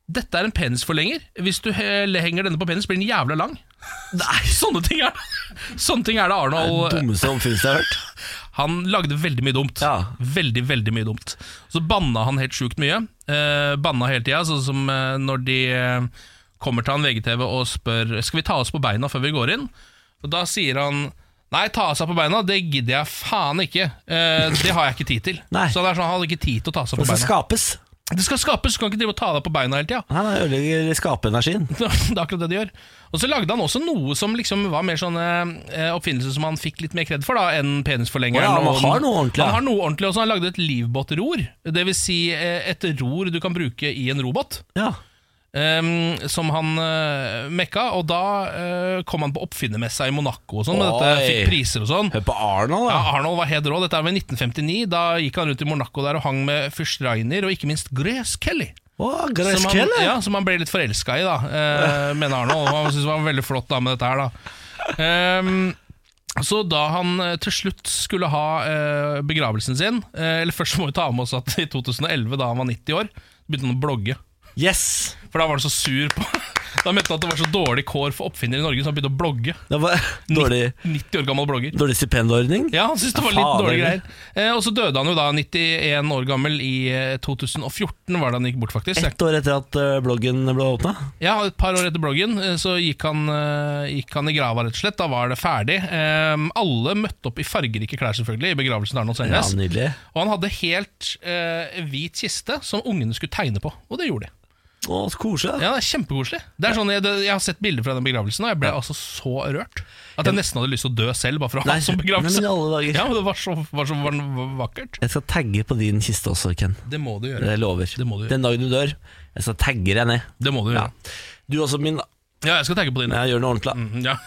Speaker 2: Dette er en penisforlenger. Hvis du he- henger denne på penis, blir den jævla lang. Nei, Sånne ting er det Sånne ting er det Arnold
Speaker 1: Dummeste omfinnelse jeg har hørt.
Speaker 2: han lagde veldig mye dumt.
Speaker 1: Ja.
Speaker 2: Veldig, veldig mye dumt. Så banna han helt sjukt mye. Eh, banna hele tida, sånn som eh, når de eh, kommer til han VGTV og spør Skal vi ta oss på beina før vi går inn. Og Da sier han Nei, ta seg på beina, det gidder jeg faen ikke. Eh, det har jeg ikke tid til.
Speaker 1: Nei.
Speaker 2: Så det er sånn, Han hadde ikke tid til å ta seg på
Speaker 1: Det skal
Speaker 2: beina.
Speaker 1: skapes.
Speaker 2: Det skal skapes, du kan ikke drive og ta deg på beina hele tida.
Speaker 1: Nei, nei, ødelegger skapeenergien.
Speaker 2: Det er akkurat det de gjør. Og så lagde han også noe som liksom var mer sånne eh, oppfinnelser som han fikk litt mer kred for da enn penisforlengeren.
Speaker 1: Å ja, han
Speaker 2: og den-
Speaker 1: har noe ordentlig, ja.
Speaker 2: Han har noe ordentlig også. Han lagde et livbåtror. Det vil si eh, et ror du kan bruke i en robåt.
Speaker 1: Ja.
Speaker 2: ehm, som han eh, mekka, og da eh, kom han på oppfinnermessa i Monaco og sånn, med dette
Speaker 1: Oi.
Speaker 2: fikk priser og sånn.
Speaker 1: Hør på Arnold, da.
Speaker 2: Ja, Arnold var helt rå. Dette er ved 1959. Da gikk han rundt i Monaco der og hang med fyrst Rainer og ikke minst Grace Kelly.
Speaker 1: Å,
Speaker 2: Som han,
Speaker 1: Greskelle.
Speaker 2: ja, som han ble litt forelska i, da, eh, mener Arnold. Han syntes det var veldig flott da, med dette her, da. Ehm, så da han eh, til slutt skulle ha eh, begravelsen sin eh, Eller først må vi ta med oss at i 2011, da han var 90 år, begynte han å blogge.
Speaker 1: Yes.
Speaker 2: For da var han så sur på Da mente han at det var så dårlig kår for oppfinnere i Norge, så han begynte å blogge.
Speaker 1: Det var dårlig,
Speaker 2: 90 år gammel blogger.
Speaker 1: dårlig stipendordning.
Speaker 2: Ja, han syntes det var litt
Speaker 1: Fader.
Speaker 2: dårlige greier. Eh, og så døde han jo da, 91 år gammel, i eh, 2014 var det han gikk bort, faktisk. Jeg
Speaker 1: Ett år etter at eh, bloggen ble åpna.
Speaker 2: Ja, et par år etter bloggen eh, så gikk han, eh, gikk han i grava, rett og slett. Da var det ferdig. Eh, alle møtte opp i fargerike klær, selvfølgelig, i begravelsen til Arnold
Speaker 1: Ja,
Speaker 2: Selnes.
Speaker 1: nydelig.
Speaker 2: og han hadde helt eh, hvit kiste som ungene skulle tegne på, og det gjorde de.
Speaker 1: Å, så koselig. da.
Speaker 2: Ja, det er Kjempekoselig. Det er sånn, jeg, det- jeg har sett bilder fra den begravelsen, og jeg ble altså så rørt at jeg nesten hadde lyst til å dø selv, bare for å ha
Speaker 1: Nei,
Speaker 2: det som begravelse.
Speaker 1: nei, men i alle dager.
Speaker 2: Ja, men Det var så, var så var vakkert.
Speaker 1: Jeg skal tagge på din kiste også, Ken.
Speaker 2: Det må du gjøre.
Speaker 1: Jeg lover.
Speaker 2: Det må du gjøre.
Speaker 1: Den dagen du dør, jeg skal tagge deg ned.
Speaker 2: Det må du
Speaker 1: Ja.
Speaker 2: gjøre.
Speaker 1: Du også, min. da.
Speaker 2: Ja, jeg skal tenke på dine.
Speaker 1: Ja, gjør det ordentlig. da.
Speaker 2: Mhm, Ja.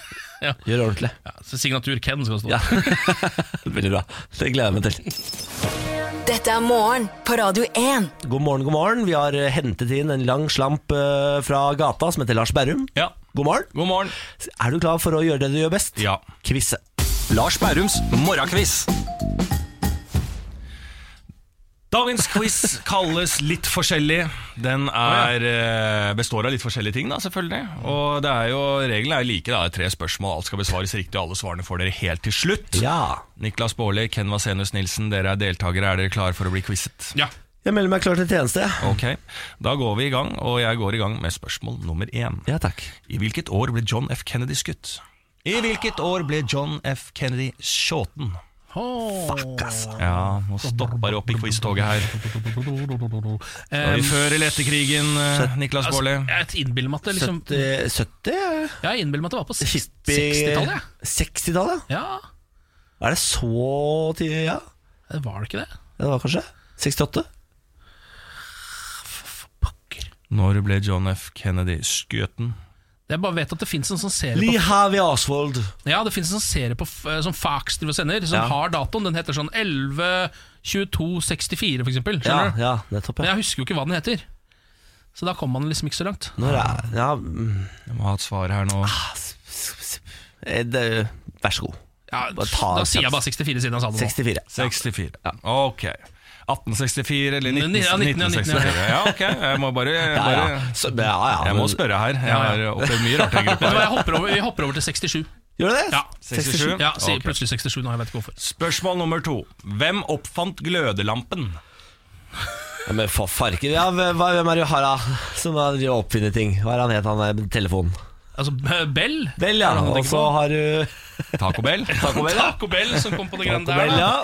Speaker 2: Ja.
Speaker 1: Gjør det ordentlig.
Speaker 2: Ja, så signatur Ken skal stå.
Speaker 1: Ja. Veldig bra. Det gleder jeg meg til.
Speaker 4: Dette er morgen på Radio 1.
Speaker 1: God morgen, god morgen. Vi har eh, hentet inn en lang slamp eh, fra gata som heter Lars Berrum.
Speaker 7: Ja.
Speaker 1: God morgen.
Speaker 7: God morgen.
Speaker 1: Er du klar for å gjøre det du gjør best?
Speaker 7: Ja.
Speaker 1: Quizze.
Speaker 5: Lars Bærums morgenkviss. Dagens quiz kalles Litt forskjellig. Den er, eh, består av litt forskjellige ting, da, selvfølgelig. Og det er jo, reglene er jo like. da. Det er tre spørsmål, alt skal besvares riktig, og alle svarene får dere helt til slutt.
Speaker 1: Ja.
Speaker 5: Niklas Baarli, Ken Vasenus Nilsen, dere er deltakere. Er dere klare for å bli quizet?
Speaker 2: Ja.
Speaker 1: Jeg melder meg klar til tjeneste.
Speaker 5: Ok, Da går vi i gang, og jeg går i gang med spørsmål nummer én.
Speaker 1: Ja, takk.
Speaker 5: I hvilket år ble John F. Kennedy skutt? I hvilket år ble John F. Kennedy skjåten?
Speaker 1: Fuck, altså.
Speaker 5: Ja, nå stopper det opp i quiz-toget her. Var
Speaker 2: Um,
Speaker 5: vi før eller etter krigen, eh, Niklas
Speaker 2: altså,
Speaker 5: Baarli?
Speaker 2: jeg innbiller meg at det liksom
Speaker 1: 70, 70?
Speaker 2: Jeg innbiller meg at det var på seks-
Speaker 1: Hippie-
Speaker 2: 60-tallet. jeg.
Speaker 1: 60-tallet?
Speaker 2: Ja,
Speaker 1: Er det så tidlig? Ja,
Speaker 2: det var det ikke det?
Speaker 1: det var kanskje 68?
Speaker 5: Når ble John F. Kennedy skutt?
Speaker 2: Jeg bare vet at det fins en sånn serie
Speaker 1: Lee
Speaker 2: på,
Speaker 1: Harvey Oswald.
Speaker 2: Ja, det finnes en sånn serie på, f- eh, som Fax driver og sender, som
Speaker 1: Ja.
Speaker 2: har datoen. Den heter sånn 11.22.64, for eksempel.
Speaker 1: Ja,
Speaker 2: Skjønner du?
Speaker 1: ja, nettopp.
Speaker 2: Men
Speaker 1: Ja.
Speaker 2: jeg husker jo ikke hva den heter. Så da kom man liksom ikke så langt.
Speaker 1: Når er ja, mm,
Speaker 5: Jeg må ha et svar her nå.
Speaker 1: s- s- s- eh, det, Vær så god.
Speaker 2: Ja,
Speaker 1: Bare ta-
Speaker 2: da sier jeg bare 64 siden han sa det nå.
Speaker 1: 64.
Speaker 5: 64. Ok. 1864 eller 19,
Speaker 2: Ja, 19, ja,
Speaker 5: 1964? Ja, ok. Jeg må bare, jeg
Speaker 1: Ja,
Speaker 5: bare
Speaker 1: ja. Så, ja, ja
Speaker 5: Jeg må
Speaker 1: men-
Speaker 5: spørre her. Jeg har opplevd mye rart i
Speaker 2: Vet
Speaker 5: gruppa.
Speaker 2: du hva, jeg
Speaker 5: her.
Speaker 2: hopper over, Vi hopper over til 67.
Speaker 1: Gjør du det?
Speaker 2: Ja,
Speaker 5: 67.
Speaker 2: Ja, sier
Speaker 5: Ok.
Speaker 2: plutselig 67 nå, jeg vet ikke hvorfor.
Speaker 5: Spørsmål nummer to. Hvem oppfant glødelampen?
Speaker 1: Ja, men for farken. Ja, hva- hvem er det vi har da? Som har drevet og oppfunnet ting? Hva er han het, han der med telefonen?
Speaker 2: Altså, Bell
Speaker 1: Vel, ja.
Speaker 2: er det han
Speaker 1: Og
Speaker 2: tenker
Speaker 1: så
Speaker 2: på.
Speaker 1: har du
Speaker 5: Taco Bell?
Speaker 1: Taco Bell, ja.
Speaker 2: Taco Bell som kom på det greiene
Speaker 1: Taco
Speaker 2: der.
Speaker 1: Bell, ja.
Speaker 2: da.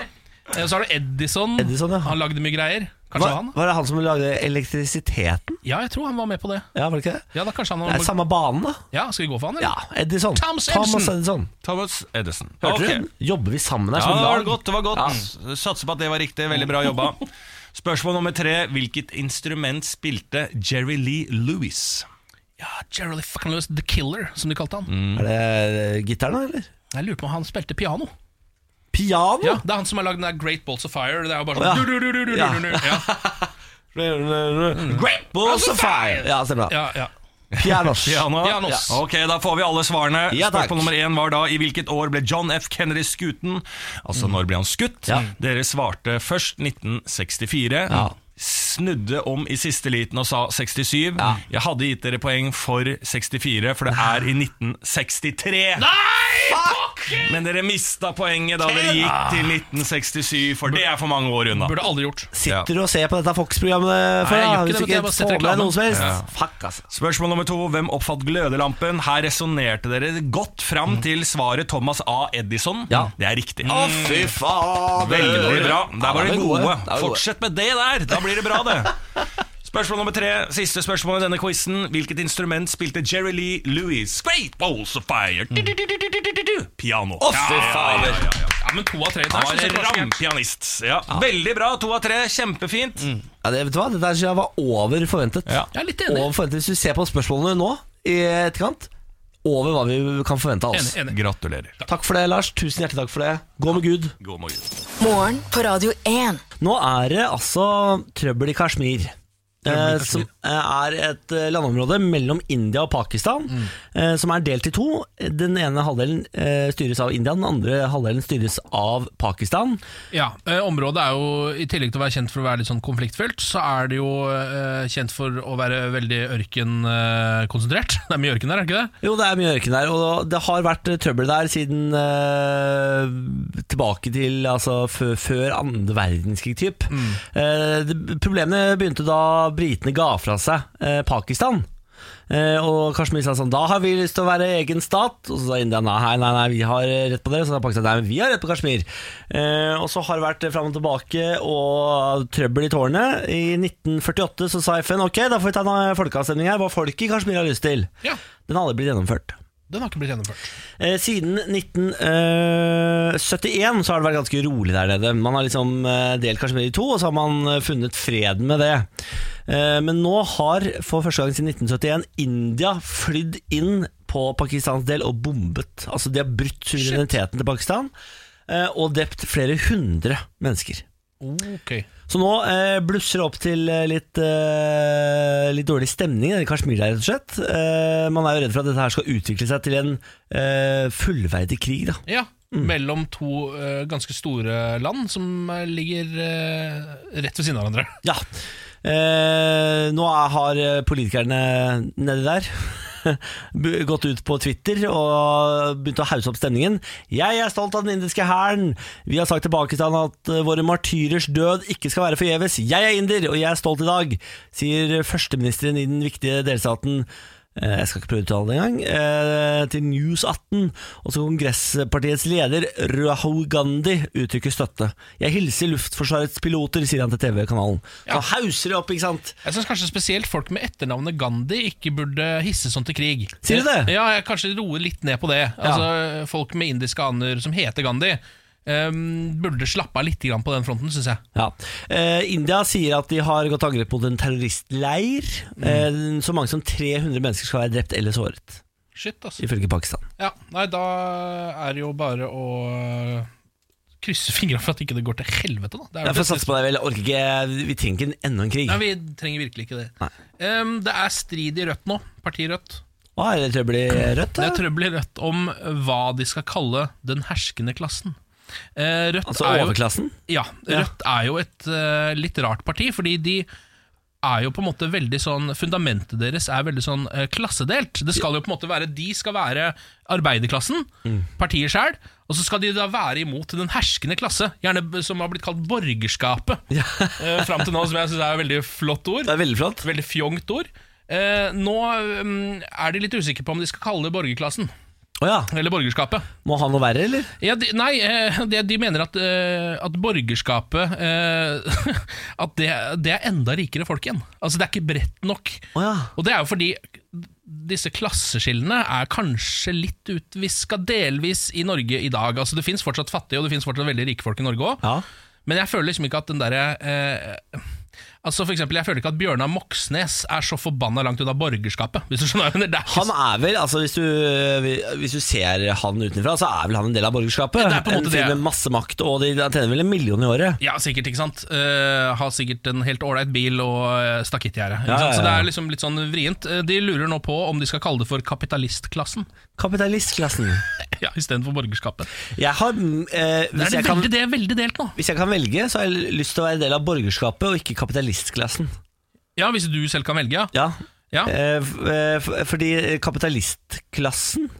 Speaker 2: Eh, Så er det Edison.
Speaker 1: Edison, ja.
Speaker 2: Han lagde mye greier. Kanskje
Speaker 1: Var,
Speaker 2: han?
Speaker 1: var det han som lagde elektrisiteten?
Speaker 2: Ja, jeg tror han var med på det.
Speaker 1: Ja, var det ikke det?
Speaker 2: Ja, da kanskje han
Speaker 1: Det er samme banen, da.
Speaker 2: Ja, Skal vi gå for han,
Speaker 1: Ja,
Speaker 2: eller?
Speaker 1: Edison.
Speaker 2: Thomas
Speaker 1: Thomas
Speaker 2: Edison.
Speaker 1: Edison.
Speaker 5: Thomas Edison.
Speaker 1: Hørte
Speaker 5: Ok.
Speaker 1: du? Jobber vi sammen her?
Speaker 5: Ja,
Speaker 1: som
Speaker 5: det var
Speaker 1: lag?
Speaker 5: godt. det var godt Satser på at det var riktig. Veldig bra jobba. Spørsmål nummer tre. Hvilket instrument spilte Jerry Lee Lewis?
Speaker 2: Ja, Gerald fucking Lewis, The Killer, som de kalte han.
Speaker 1: Er det eh, gitaren, da, eller?
Speaker 2: Jeg lurer på om han spilte piano.
Speaker 1: Piano?
Speaker 2: Ja, Det er han som har lagd den der Great Balls of Fire. Det er jo bare sånn
Speaker 1: Å, ja.
Speaker 2: du, du, du, du, du,
Speaker 1: Ja.
Speaker 2: du, du. Ja.
Speaker 5: Great
Speaker 1: Balls of Fire! Ja, stemmer det.
Speaker 2: Ja, ja.
Speaker 1: Pianos.
Speaker 5: Piano.
Speaker 2: Pianos.
Speaker 5: Ok, da får vi alle svarene.
Speaker 1: Ja, takk.
Speaker 5: Spørsmål nummer én var da i hvilket år ble John F. Kennedy skuten? Altså når ble han skutt?
Speaker 1: Ja.
Speaker 5: Dere svarte først 1964.
Speaker 1: Ja.
Speaker 5: Snudde om i siste liten og sa 67.
Speaker 1: Ja.
Speaker 5: Jeg hadde gitt dere poeng for 64, for det er i 1963. Men dere mista poenget da dere gikk til 1967, for det er for mange år unna.
Speaker 2: Burde aldri gjort.
Speaker 1: Sitter du og ser på dette Fox-programmet? for
Speaker 2: Nei,
Speaker 1: da,
Speaker 2: jeg gjør ikke
Speaker 1: hvis
Speaker 2: det, vet du, jeg bare
Speaker 1: får
Speaker 2: setter
Speaker 1: med deg
Speaker 2: reklamen.
Speaker 1: noe som helst? Fuck, altså.
Speaker 5: Spørsmål nummer to. Hvem oppfatt glødelampen? Her resonnerte dere godt fram til svaret Thomas A. Edison.
Speaker 1: Ja.
Speaker 5: Det er riktig.
Speaker 1: Å, fy fader!
Speaker 5: Veldig bra.
Speaker 1: Ja,
Speaker 5: Der
Speaker 1: da
Speaker 5: var dere
Speaker 1: er vi
Speaker 5: gode.
Speaker 1: Da er vi
Speaker 5: Fortsett med det der. Da blir det bra, det. Spørsmål nummer tre. Siste spørsmål i denne quizen. Hvilket instrument spilte Jerry Lee Lewis? Great Balls of Fire. Du-du-du-du-du-du-du. Piano.
Speaker 1: Å, fy fader!
Speaker 2: Ja, Men to av tre der.
Speaker 5: Han
Speaker 2: synes jeg var så
Speaker 5: var en
Speaker 2: gærent.
Speaker 5: rampianist. Ja. Veldig bra. To av tre. Kjempefint.
Speaker 1: Ja, det, vet du hva? Det der synes jeg var over forventet.
Speaker 5: Ja.
Speaker 2: Jeg er litt enig.
Speaker 1: Over forventet. Hvis du ser på spørsmålene nå, i etterkant, over hva vi kan forvente av oss.
Speaker 2: Enig, enig.
Speaker 5: Gratulerer.
Speaker 1: Takk for det, Lars. Tusen hjertelig takk for det. Gå med Gud.
Speaker 5: God morgen.
Speaker 4: Morgen på Radio 1.
Speaker 1: Nå er det altså trøbbel i Kashmir. eh, Som er et eh, landområde mellom India og Pakistan, eh, som er delt i to. Den ene halvdelen eh, styres av India, den andre halvdelen styres av Pakistan.
Speaker 2: Ja, eh, Området er jo, i tillegg til å være kjent for å være litt sånn konfliktfylt, så er det jo eh, kjent for å være veldig ørkenkonsentrert. det er mye ørken der, er det ikke det?
Speaker 1: Jo, det er mye ørken der, og det har vært trøbbel der siden eh, tilbake til altså før, før andre verdenskrig, typ. Eh, det- problemene begynte da britene ga fra seg eh, Pakistan. Eh, og Kashmir sa sånn Da har vi lyst til å være egen stat. Og så sa India nei, nei, nei, vi har rett på dere. Så sa Pakistan nei, men vi har rett på Kashmir. Eh, og så har det vært fram og tilbake og trøbbel i tårnet. I 1948 så sa FN ok, da får vi ta en eh, folkeavstemning her. Hva folket i Kashmir har lyst til.
Speaker 2: Ja,
Speaker 1: Den har aldri blitt gjennomført.
Speaker 2: Den har ikke blitt gjennomført.
Speaker 1: Eh, siden 1971 så har det vært ganske rolig der nede. Man har liksom eh, delt Kashmir i to, og så har man eh, funnet fred med det. Eh, men nå har for første gang siden 1971 India flydd inn på Pakistans del og bombet. Altså De har brutt suvereniteten til Pakistan eh, og drept flere hundre mennesker.
Speaker 2: Ok
Speaker 1: Så nå eh, blusser det opp til eh, litt, eh, litt dårlig stemning i Kashmir, der, rett og slett. Eh, man er jo redd for at dette her skal utvikle seg til en eh, fullverdig krig. Da.
Speaker 2: Ja, mellom to eh, ganske store land som eh, ligger eh, rett ved siden av hverandre.
Speaker 1: Ja. Eh, nå er, har eh, politikerne nedi der bu- gått ut på Twitter og begynt å hausse opp stemningen. Jeg er stolt av den indiske hæren. Vi har sagt til Pakistan at eh, våre martyrers død ikke skal være forgjeves. Jeg er inder, og jeg er stolt i dag, sier førsteministeren i den viktige delstaten. eh, Jeg skal ikke prøve å uttale det engang. eh, Til News 18. Også kongresspartiets leder Rahul Gandhi uttrykker støtte. Jeg hilser Luftforsvarets piloter, sier han til TV-kanalen. Så hauser det opp, ikke sant?
Speaker 2: Jeg syns kanskje spesielt folk med etternavnet Gandhi ikke burde hisse sånn til krig.
Speaker 1: Sier du det?
Speaker 2: Ja, jeg kanskje roer litt ned på det. Altså, Folk med indiske aner som heter Gandhi, eh, burde slappe av litt grann på den fronten, syns jeg.
Speaker 1: Ja. Eh, India sier at de har gått til angrep mot en terroristleir.
Speaker 2: Mm.
Speaker 1: Eh, så mange som 300 mennesker skal være drept eller såret,
Speaker 2: Shit, altså.
Speaker 1: ifølge Pakistan.
Speaker 2: Ja, nei, da er det jo bare å øh, krysse fingra for at ikke det går til helvete, da. Det er jo
Speaker 1: Jeg får
Speaker 2: det-
Speaker 1: satse på deg, vel. Jeg Orker ikke Vi trenger ikke enda en krig.
Speaker 2: Nei, vi trenger virkelig ikke det. Eh, det er strid i Rødt nå. Partiet Rødt.
Speaker 1: Å, er det trøbbel i Rødt?
Speaker 2: Det
Speaker 1: da?
Speaker 2: er trøbbel i Rødt om hva de skal kalle den herskende klassen. Eh, Rødt,
Speaker 1: Altså
Speaker 2: er jo,
Speaker 1: overklassen?
Speaker 2: ja, Rødt er jo et eh, litt rart parti, fordi de er jo på en måte veldig sånn Fundamentet deres er veldig sånn eh, klassedelt. Det skal jo på en måte være De skal være arbeiderklassen, partiet sjøl, og så skal de da være imot den herskende klasse, gjerne b- som har blitt kalt borgerskapet eh, fram til nå, som jeg syns er et veldig flott ord.
Speaker 1: Det er veldig flott.
Speaker 2: Veldig fjongt ord. Eh, nå mm, er de litt usikre på om de skal kalle det borgerklassen.
Speaker 1: Å ja.
Speaker 2: Eller borgerskapet.
Speaker 1: Må han noe verre, eller?
Speaker 2: Ja, de, nei, eh, de, de mener at, eh, at borgerskapet eh, At det, det er enda rikere folk igjen. Altså, det er ikke bredt nok.
Speaker 1: Å ja.
Speaker 2: Og det er jo fordi disse klasseskillene er kanskje litt utviska delvis i Norge i dag. Altså, det fins fortsatt fattige, og det fins fortsatt veldig rike folk i Norge òg.
Speaker 1: ja.
Speaker 2: Men jeg føler liksom ikke at den derre eh, Altså for eksempel, Jeg føler ikke at Bjørnar Moxnes er så forbanna langt unna borgerskapet. Hvis du skjønner hva jeg mener. Det er ikke
Speaker 1: Han er vel, altså hvis du, hvis du ser han utenfra, så er vel han en del av borgerskapet.
Speaker 2: Det er på en måte
Speaker 1: fyr
Speaker 2: det.
Speaker 1: med masse makt, og de han tjener vel en million i året.
Speaker 2: Ja, sikkert, ikke sant? Eh, har sikkert en helt ålreit bil og uh, stakittgjerde. ikke
Speaker 1: Ja, ja,
Speaker 2: sant? Så det
Speaker 1: ja.
Speaker 2: er liksom litt sånn vrient. Eh, de lurer nå på om de skal kalle det for kapitalistklassen
Speaker 1: Kapitalistklassen.
Speaker 2: ja, istedenfor borgerskapet.
Speaker 1: Jeg har, mm, eh,
Speaker 2: Det
Speaker 1: hvis,
Speaker 2: er
Speaker 1: jeg
Speaker 2: det
Speaker 1: kan,
Speaker 2: veldig, det er veldig delt nå.
Speaker 1: hvis jeg kan velge, så har jeg lyst til å være en del av borgerskapet, og ikke kapitalistklassen.
Speaker 2: Ja, Hvis du selv kan velge, ja.
Speaker 1: Ja,
Speaker 2: ja.
Speaker 1: eh, f- eh, f- fordi kapitalistklassen,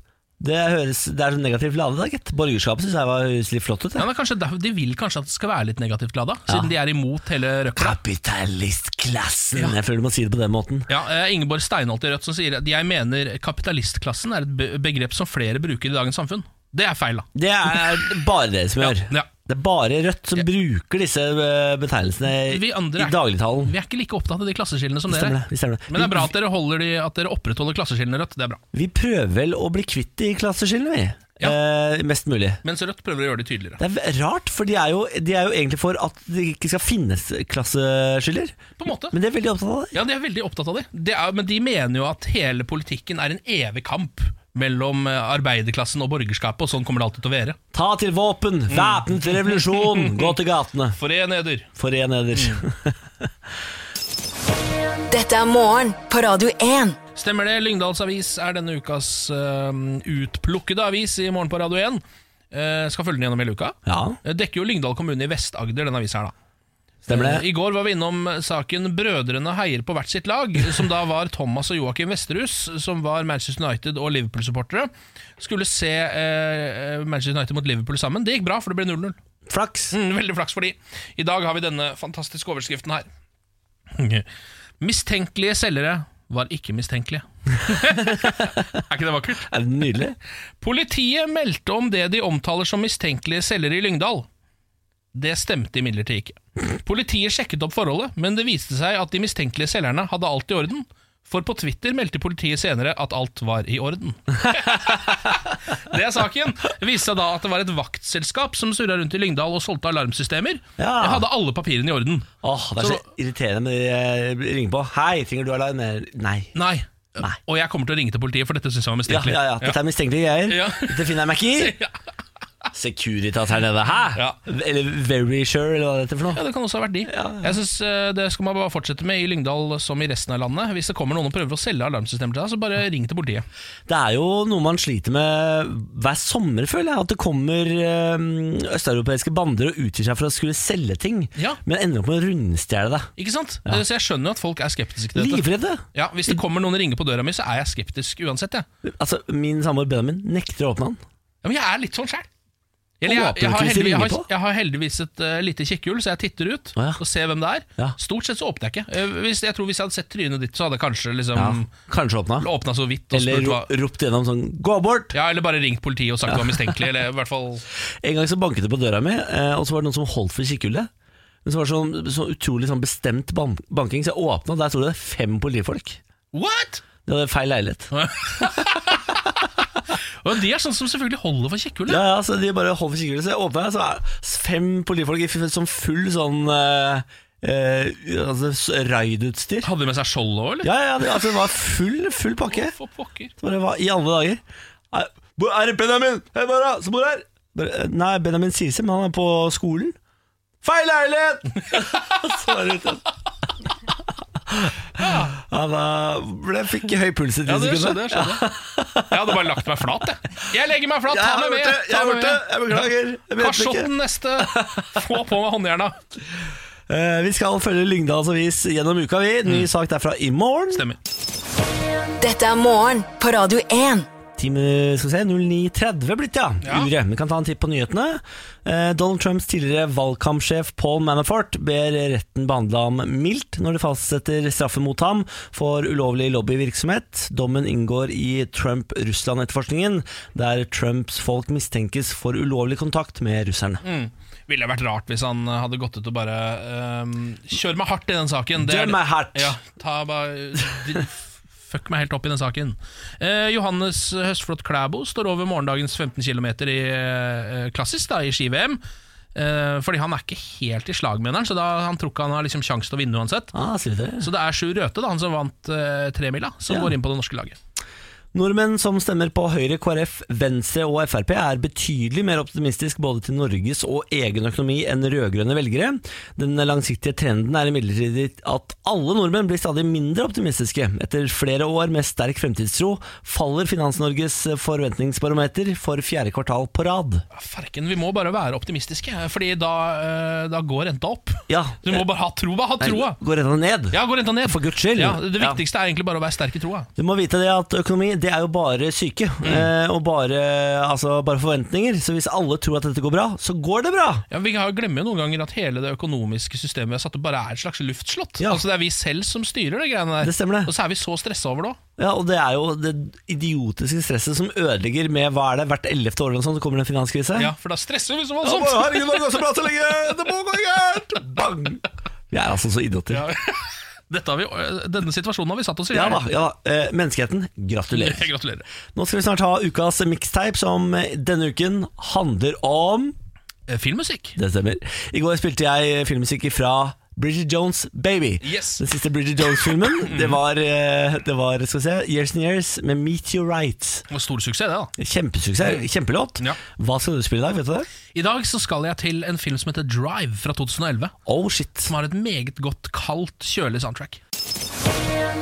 Speaker 1: det, høres, det er så negativt ladet, da, gitt. Borgerskapet syns jeg var høres litt flott ut.
Speaker 2: Ja,
Speaker 1: jeg.
Speaker 2: men kanskje, derfor- De vil kanskje at det skal være litt negativt lada, siden de er imot hele røkla.
Speaker 1: Kapitalistklassen! Jeg føler du må si det på den måten.
Speaker 2: Ja, eh, Ingeborg Steinholt i Rødt som sier at jeg mener kapitalistklassen er et be- begrep som flere bruker i dagens samfunn. Det er feil, da.
Speaker 1: Det er bare dere som gjør.
Speaker 2: ja.
Speaker 1: Det er bare Rødt som bruker disse eh, betegnelsene
Speaker 2: Vi andre
Speaker 1: i
Speaker 2: er-
Speaker 1: dagligtalen.
Speaker 2: Vi er ikke like opptatt av de klasseskillene som
Speaker 1: Stemmer
Speaker 2: dere.
Speaker 1: Oh. det, vi stemmer det.
Speaker 2: Men det er bra at dere, holder de, at dere opprettholder klasseskillene, Rødt. Det er bra.
Speaker 1: Vi prøver vel å bli kvitt de klasseskillene, vi.
Speaker 2: Ja.
Speaker 1: Eh, mest mulig.
Speaker 2: Mens Rødt prøver å gjøre det tydeligere.
Speaker 1: Det er v- rart, for de er, jo, de er jo egentlig for at det ikke skal finnes klasseskiller.
Speaker 2: På en måte.
Speaker 1: Men de er veldig opptatt av det.
Speaker 2: Ja, de er veldig opptatt av det. det er, men de mener jo at hele politikken er en evig kamp mellom eh, arbeiderklassen og borgerskapet, og sånn kommer det alltid til å være.
Speaker 1: Ta til våpen!
Speaker 2: Mm.
Speaker 1: Væpnet revolusjon! Gå til gatene!
Speaker 2: Foren eder.
Speaker 1: Foren eder.
Speaker 2: Mm.
Speaker 4: Dette er morgen på Radio 1.
Speaker 2: Stemmer det. Lyngdals Avis er denne ukas eh, utplukkede avis i morgen på Radio 1. Eh, skal følge den gjennom hele uka.
Speaker 1: Ja,
Speaker 2: Eh, Dekker jo Lyngdal kommune i Vest-Agder, denne avisa her, da.
Speaker 1: stemmer
Speaker 2: Eh,
Speaker 1: det.
Speaker 2: I går var vi innom saken 'Brødrene heier på hvert sitt lag', som da var Thomas og Joakim Vesterhus, som var Manchester United og Liverpool-supportere. Skulle se eh, Manchester United mot Liverpool sammen. Det gikk bra, for det ble 0-0.
Speaker 1: Flaks.
Speaker 2: Mm, veldig flaks for de. I dag har vi denne fantastiske overskriften her. Mistenkelige selgere var ikke mistenkelige. er ikke det vakkert?
Speaker 1: Er det nydelig?
Speaker 2: Politiet meldte om det de omtaler som mistenkelige selgere i Lyngdal. Det stemte imidlertid ikke. Politiet sjekket opp forholdet, men det viste seg at de mistenkelige selgerne hadde alt i orden. For på Twitter meldte politiet senere at alt var i orden. det er saken. Det viste seg da at det var et vaktselskap som surra rundt i Lyngdal og solgte alarmsystemer.
Speaker 1: Ja.
Speaker 2: Jeg hadde alle papirene i orden.
Speaker 1: Åh, Det er så irriterende når de eh, ringer på. 'Hei, trenger du alarm?' Nei.
Speaker 2: Nei.
Speaker 1: Nei.
Speaker 2: Og jeg kommer til å ringe til politiet, for dette syns jeg var
Speaker 1: Ja,
Speaker 2: mistenkelig.
Speaker 1: ja, ja, dette er mistenkelige greier.
Speaker 2: Ja.
Speaker 1: Dette finner jeg meg ikke i. Securitas her nede. Hæ?
Speaker 2: Ja.
Speaker 1: Eller Very Sure, eller hva det heter for
Speaker 2: Ja,
Speaker 1: noe.
Speaker 2: Det kan også ha vært de. Jeg synes eh, Det skal man bare fortsette med i Lyngdal som i resten av landet. Hvis det kommer noen og prøver å selge alarmsystemer til deg, så bare ring til politiet.
Speaker 1: Det er jo noe man sliter med hver sommer, føler jeg. At det kommer øhm, østeuropeiske bander og utgir seg for å skulle selge ting,
Speaker 2: Ja.
Speaker 1: men ender opp med å rundstjele det.
Speaker 2: Ikke sant? Eh, Så jeg skjønner jo at folk er skeptiske til dette.
Speaker 1: Livredde!
Speaker 2: Ja, Hvis det kommer noen og ringer på døra mi, så er jeg skeptisk uansett. Jeg.
Speaker 1: Altså, min samboer Benjamin nekter å åpne den.
Speaker 2: Ja, men jeg er litt sånn sjæl.
Speaker 1: Håper
Speaker 2: jeg, jeg,
Speaker 1: ikke
Speaker 2: har
Speaker 1: hvis de
Speaker 2: heldigvis- jeg,
Speaker 1: ringer
Speaker 2: har,
Speaker 1: på.
Speaker 2: jeg har heldigvis et eh, lite kikkhjul, så jeg titter ut
Speaker 1: Å, ja.
Speaker 2: og ser hvem det er.
Speaker 1: Ja.
Speaker 2: Stort sett så åpner jeg ikke. Eh, Hvis, jeg tror hvis jeg hadde sett trynet ditt, så hadde jeg kanskje
Speaker 1: Ja,
Speaker 2: liksom
Speaker 1: kanskje åpna.
Speaker 2: åpna så vidt. Og
Speaker 1: Eller
Speaker 2: spurt
Speaker 1: ro
Speaker 2: hva
Speaker 1: ropt gjennom sånn 'gå bort'!
Speaker 2: ja, Eller bare ringt politiet og sagt du var mistenkelig. Eller i hvert fall
Speaker 1: En gang så banket det på døra mi, eh, og så var det noen som holdt for kikkhullet. Men så var det sånn, så utrolig sånn bestemt ban banking, så jeg åpna, og der sto det fem politifolk.
Speaker 2: What?!
Speaker 1: De hadde feil leilighet.
Speaker 2: Og De er sånn som selvfølgelig holder for kikkhullet.
Speaker 1: Ja, ja, så de bare holdt for kikkhullet, så jeg åpna, så er det fem politifolk i f- sånn full sånn eh, eh, altså, s- raidutstyr.
Speaker 2: Hadde de med seg skjold òg, eller?
Speaker 1: Ja, ja, det, altså, det var full, full pakke.
Speaker 2: For pokker.
Speaker 1: Så bare, hva i alle dager? Er, bo- er det Benjamin Hei, Mara, som bor her? Bare, eh, Nei, Benjamin sier seg, men han er på skolen. Feil leilighet! så var det ute. Ja, da ble, fikk jeg høy puls i
Speaker 2: Ja,
Speaker 1: ti
Speaker 2: det skjønner
Speaker 1: sekunder.
Speaker 2: jeg. skjønner Jeg Jeg hadde bare lagt meg flat, jeg. Jeg legger meg flat,
Speaker 1: Jeg
Speaker 2: ta
Speaker 1: har
Speaker 2: meg
Speaker 1: gjort
Speaker 2: med!
Speaker 1: det, jeg
Speaker 2: ta
Speaker 1: har
Speaker 2: meg
Speaker 1: gjort det,
Speaker 2: med.
Speaker 1: jeg beklager. Jeg vet ikke.
Speaker 2: Kasjotten neste! Få på meg håndjerna.
Speaker 1: Eh, vi skal følge Lyngdals avis gjennom uka, vi. Ny
Speaker 2: Mm.
Speaker 1: sak derfra i morgen.
Speaker 2: Stemmer.
Speaker 4: Dette er morgen på Radio 1.
Speaker 1: Time skal vi se, 09.30 blitt, ja.
Speaker 2: Ja.
Speaker 1: Uret. Vi kan ta en titt på nyhetene. Eh, Donald Trumps tidligere valgkampsjef Paul Manafort ber retten behandle ham mildt når de fastsetter straffen mot ham for ulovlig lobbyvirksomhet. Dommen inngår i Trump-Russland-etterforskningen, der Trumps folk mistenkes for ulovlig kontakt med russerne.
Speaker 2: Mm. Ville vært rart hvis han hadde gått ut og bare ehm, Kjør meg hardt i den saken. er-
Speaker 1: Døm meg hardt!
Speaker 2: Ja, ta bare de- Fuck meg helt opp i den saken. Eh, Johannes Høstflot Klæbo står over morgendagens 15 km i eh, klassisk da, i ski-VM. Eh, fordi han er ikke helt i slag med eneren, så da, han tror ikke han har liksom sjanse til å vinne uansett.
Speaker 1: Ah, sier vi det?
Speaker 2: Så det er Sjur Røthe, da, han som vant eh, tremila, som
Speaker 1: Ja.
Speaker 2: går inn på det norske laget.
Speaker 1: Nordmenn som stemmer på Høyre, KrF, Venstre og Frp er betydelig mer optimistisk både til Norges og egen økonomi enn rød-grønne velgere. Den langsiktige trenden er imidlertid at alle nordmenn blir stadig mindre optimistiske. Etter flere år med sterk fremtidstro faller Finans-Norges forventningsbarometer for fjerde kvartal på rad.
Speaker 2: Ja, Farken, Ah, vi må bare være optimistiske, Fordi da, eh, da går renta opp.
Speaker 1: Ja,
Speaker 2: Du må bare ha troa! Ha
Speaker 1: Nei,
Speaker 2: troa!
Speaker 1: Går rett og ned.
Speaker 2: Ja, gå renta ned!
Speaker 1: For guds skyld.
Speaker 2: Ja, det viktigste er egentlig bare å være sterk i troa.
Speaker 1: Du må vite det at økonomi det er jo bare syke,
Speaker 2: Mm.
Speaker 1: eh, og bare, altså, bare forventninger. Så hvis alle tror at dette går bra, så går det bra!
Speaker 2: Ja, vi har- glemmer jo noen ganger at hele det økonomiske systemet vi har satt opp, bare er et slags luftslott.
Speaker 1: Ja.
Speaker 2: Altså Det er vi selv som styrer det greiene der.
Speaker 1: Det stemmer det.
Speaker 2: Og så er vi så stressa over det òg.
Speaker 1: Ja, og det er jo det idiotiske stresset som ødelegger med hva er det, hvert 11. år eller noe sånt, så kommer det en finanskrise.
Speaker 2: Ja, for da stresser vi så
Speaker 1: Å,
Speaker 2: voldsomt!
Speaker 1: Herregud, det går så bra så lenge! Det må gå gærent! Bang! Vi er altså så idioter. Ja,
Speaker 2: Dette har vi, denne situasjonen har vi satt oss i.
Speaker 1: da. ja da. Eh, menneskeheten, gratulerer.
Speaker 2: Jeg gratulerer.
Speaker 1: Nå skal vi snart ha ukas mixtape, som eh, denne uken handler om
Speaker 2: Eh, Filmmusikk.
Speaker 1: Det stemmer. I går spilte jeg filmmusikk fra Bridget Jones' Baby.
Speaker 2: Yes. Mhm.
Speaker 1: Den siste Bridget Jones-filmen. Det var, eh, det var skal vi se, Years and Years med Meteorites.
Speaker 2: Og Stor suksess, det, da.
Speaker 1: Kjempesuksess, kjempelåt.
Speaker 2: Mm. Ja.
Speaker 1: Hva skal du spille i dag? vet du det?
Speaker 2: I dag så skal jeg til en film som heter Drive fra 2011.
Speaker 1: Oh shit.
Speaker 2: Som har et meget godt, kaldt, kjølig soundtrack.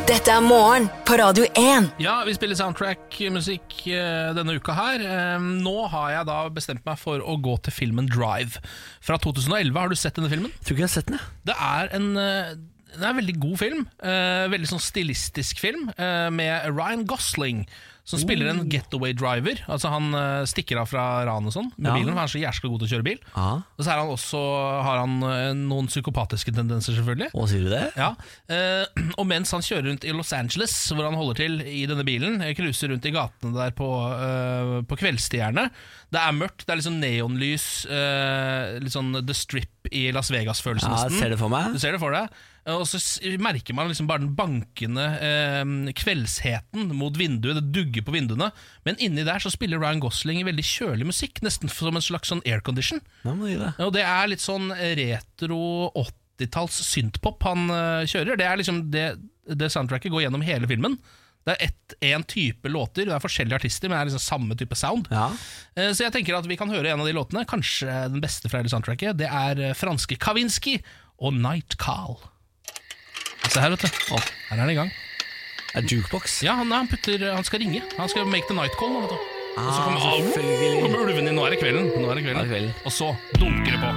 Speaker 4: Dette er morgen på Radio 1.
Speaker 2: Ja, vi spiller soundtrack-musikk eh, denne uka her. Eh, Nå har jeg da bestemt meg for å gå til filmen Drive. Fra 2011, har du sett denne filmen?
Speaker 1: Tror ikke jeg har sett den, jeg.
Speaker 2: Det er en eh, det er en veldig god film. eh, veldig sånn stilistisk film, eh, med Ryan Gosling. Som spiller en getaway driver. Altså Han eh, stikker av fra ran og sånn med
Speaker 1: Ja.
Speaker 2: bilen. For han er så jæskla god til å kjøre bil.
Speaker 1: Ja.
Speaker 2: Og så er han også, har han eh, noen psykopatiske tendenser, selvfølgelig.
Speaker 1: Å, sier du det?
Speaker 2: Ja, eh, Og mens han kjører rundt i Los Angeles, hvor han holder til i denne bilen, eh, cruiser rundt i gatene der på, eh, på kveldsstjerne Det er mørkt, det er litt sånn neonlys, eh, litt sånn The Strip i Las Vegas-følelse
Speaker 1: Ja,
Speaker 2: nesten.
Speaker 1: ser det for meg.
Speaker 2: Du ser det for deg. Eh, Og så s- merker man liksom bare den bankende eh, kveldsheten mot vinduet. Det dugger på vinduene. Men inni der så spiller Ryan Gosling veldig kjølig musikk, nesten som en slags sånn aircondition.
Speaker 1: Nå må du gi det.
Speaker 2: Og det er litt sånn retro 80-talls synthpop han eh, kjører. Det er liksom det, det soundtracket går gjennom hele filmen. Det er én type låter, det er forskjellige artister, men det er liksom samme type sound.
Speaker 1: Ja.
Speaker 2: Eh, Så jeg tenker at vi kan høre en av de låtene. Kanskje den beste fra hele soundtracket. Det er eh, franske Kavinsky og Night Call. Se her, vet du. Å, her er den i gang.
Speaker 1: Er jukebox?
Speaker 2: Ja, han, han, putter, han skal ringe. Han skal make the night call nå, vet du. Og så
Speaker 1: Ah,
Speaker 2: kommer, au,
Speaker 1: selvfølgelig.
Speaker 2: kommer ulven inn. Nå er det kvelden. Nå
Speaker 1: Nå er
Speaker 2: er det
Speaker 1: det kvelden.
Speaker 2: kvelden. Og så dunker det på.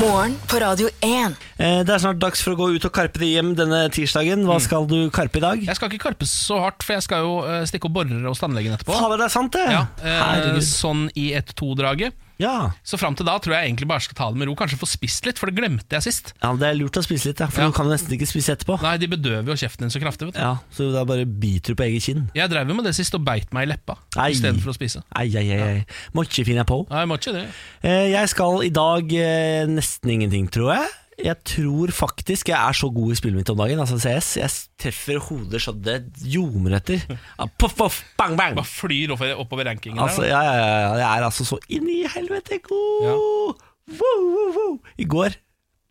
Speaker 4: Morgen på Radio 1.
Speaker 1: Eh, det er snart dags for å gå ut og karpe det hjem denne tirsdagen.
Speaker 2: Mm.
Speaker 1: Hva skal du karpe i dag?
Speaker 2: Jeg skal ikke karpe så hardt, for jeg skal jo eh, stikke opp borere hos tannlegen etterpå.
Speaker 1: Fader, det er sant, det!
Speaker 2: Ja, eh,
Speaker 1: Herregud.
Speaker 2: sånn i ett to-draget.
Speaker 1: Ja.
Speaker 2: Så fram til da tror jeg egentlig bare skal ta det med ro. Kanskje få spist litt, for det glemte jeg sist.
Speaker 1: ja, det er lurt å spise litt, ja, for
Speaker 2: Ja.
Speaker 1: du kan jo nesten ikke spise etterpå.
Speaker 2: Nei, de bedøver jo kjeften din så kraftig. vet du
Speaker 1: Ja, Så da bare biter du på eget kinn.
Speaker 2: Jeg drev jo med det sist og beit meg i leppa
Speaker 1: Ei.
Speaker 2: istedenfor å spise.
Speaker 1: Ai, ai, ai. ai. Må ikke finne på.
Speaker 2: Nei, jeg må ikke det.
Speaker 1: Eh, Jeg skal i dag eh, nesten ingenting, tror jeg. Jeg tror faktisk jeg er så god i spillet mitt om dagen, altså CS. Jeg treffer hoder så det ljomer etter. Ah, Poff, poff, bang, bang.
Speaker 2: Bare flyr oppover, oppover rankingen.
Speaker 1: Altså,
Speaker 2: der,
Speaker 1: ja, ja, ja, ja. Jeg er altså så inn i helvete god!
Speaker 2: Ja.
Speaker 1: Woo, woo, woo. I går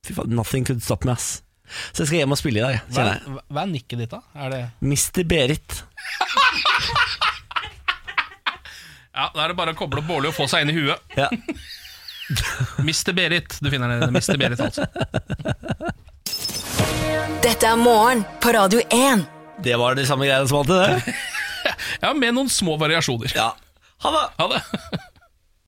Speaker 1: Fy faen, nothing could stop me, ass. Så jeg skal hjem og spille i dag,
Speaker 2: da.
Speaker 1: kjenner jeg.
Speaker 2: hva, hva er nikket ditt, da? Er det
Speaker 1: Mr. Berit.
Speaker 2: Ja, Da er det bare å koble opp Bårli og få seg inn i huet.
Speaker 1: Ja.
Speaker 2: Mr. Berit. Du finner den. Mr. Berit, altså.
Speaker 4: Dette er morgen på Radio 1.
Speaker 1: Det var de samme greiene som alltid, det.
Speaker 2: Ja, Med noen små variasjoner.
Speaker 1: Ja. Ha det!
Speaker 2: Ha det.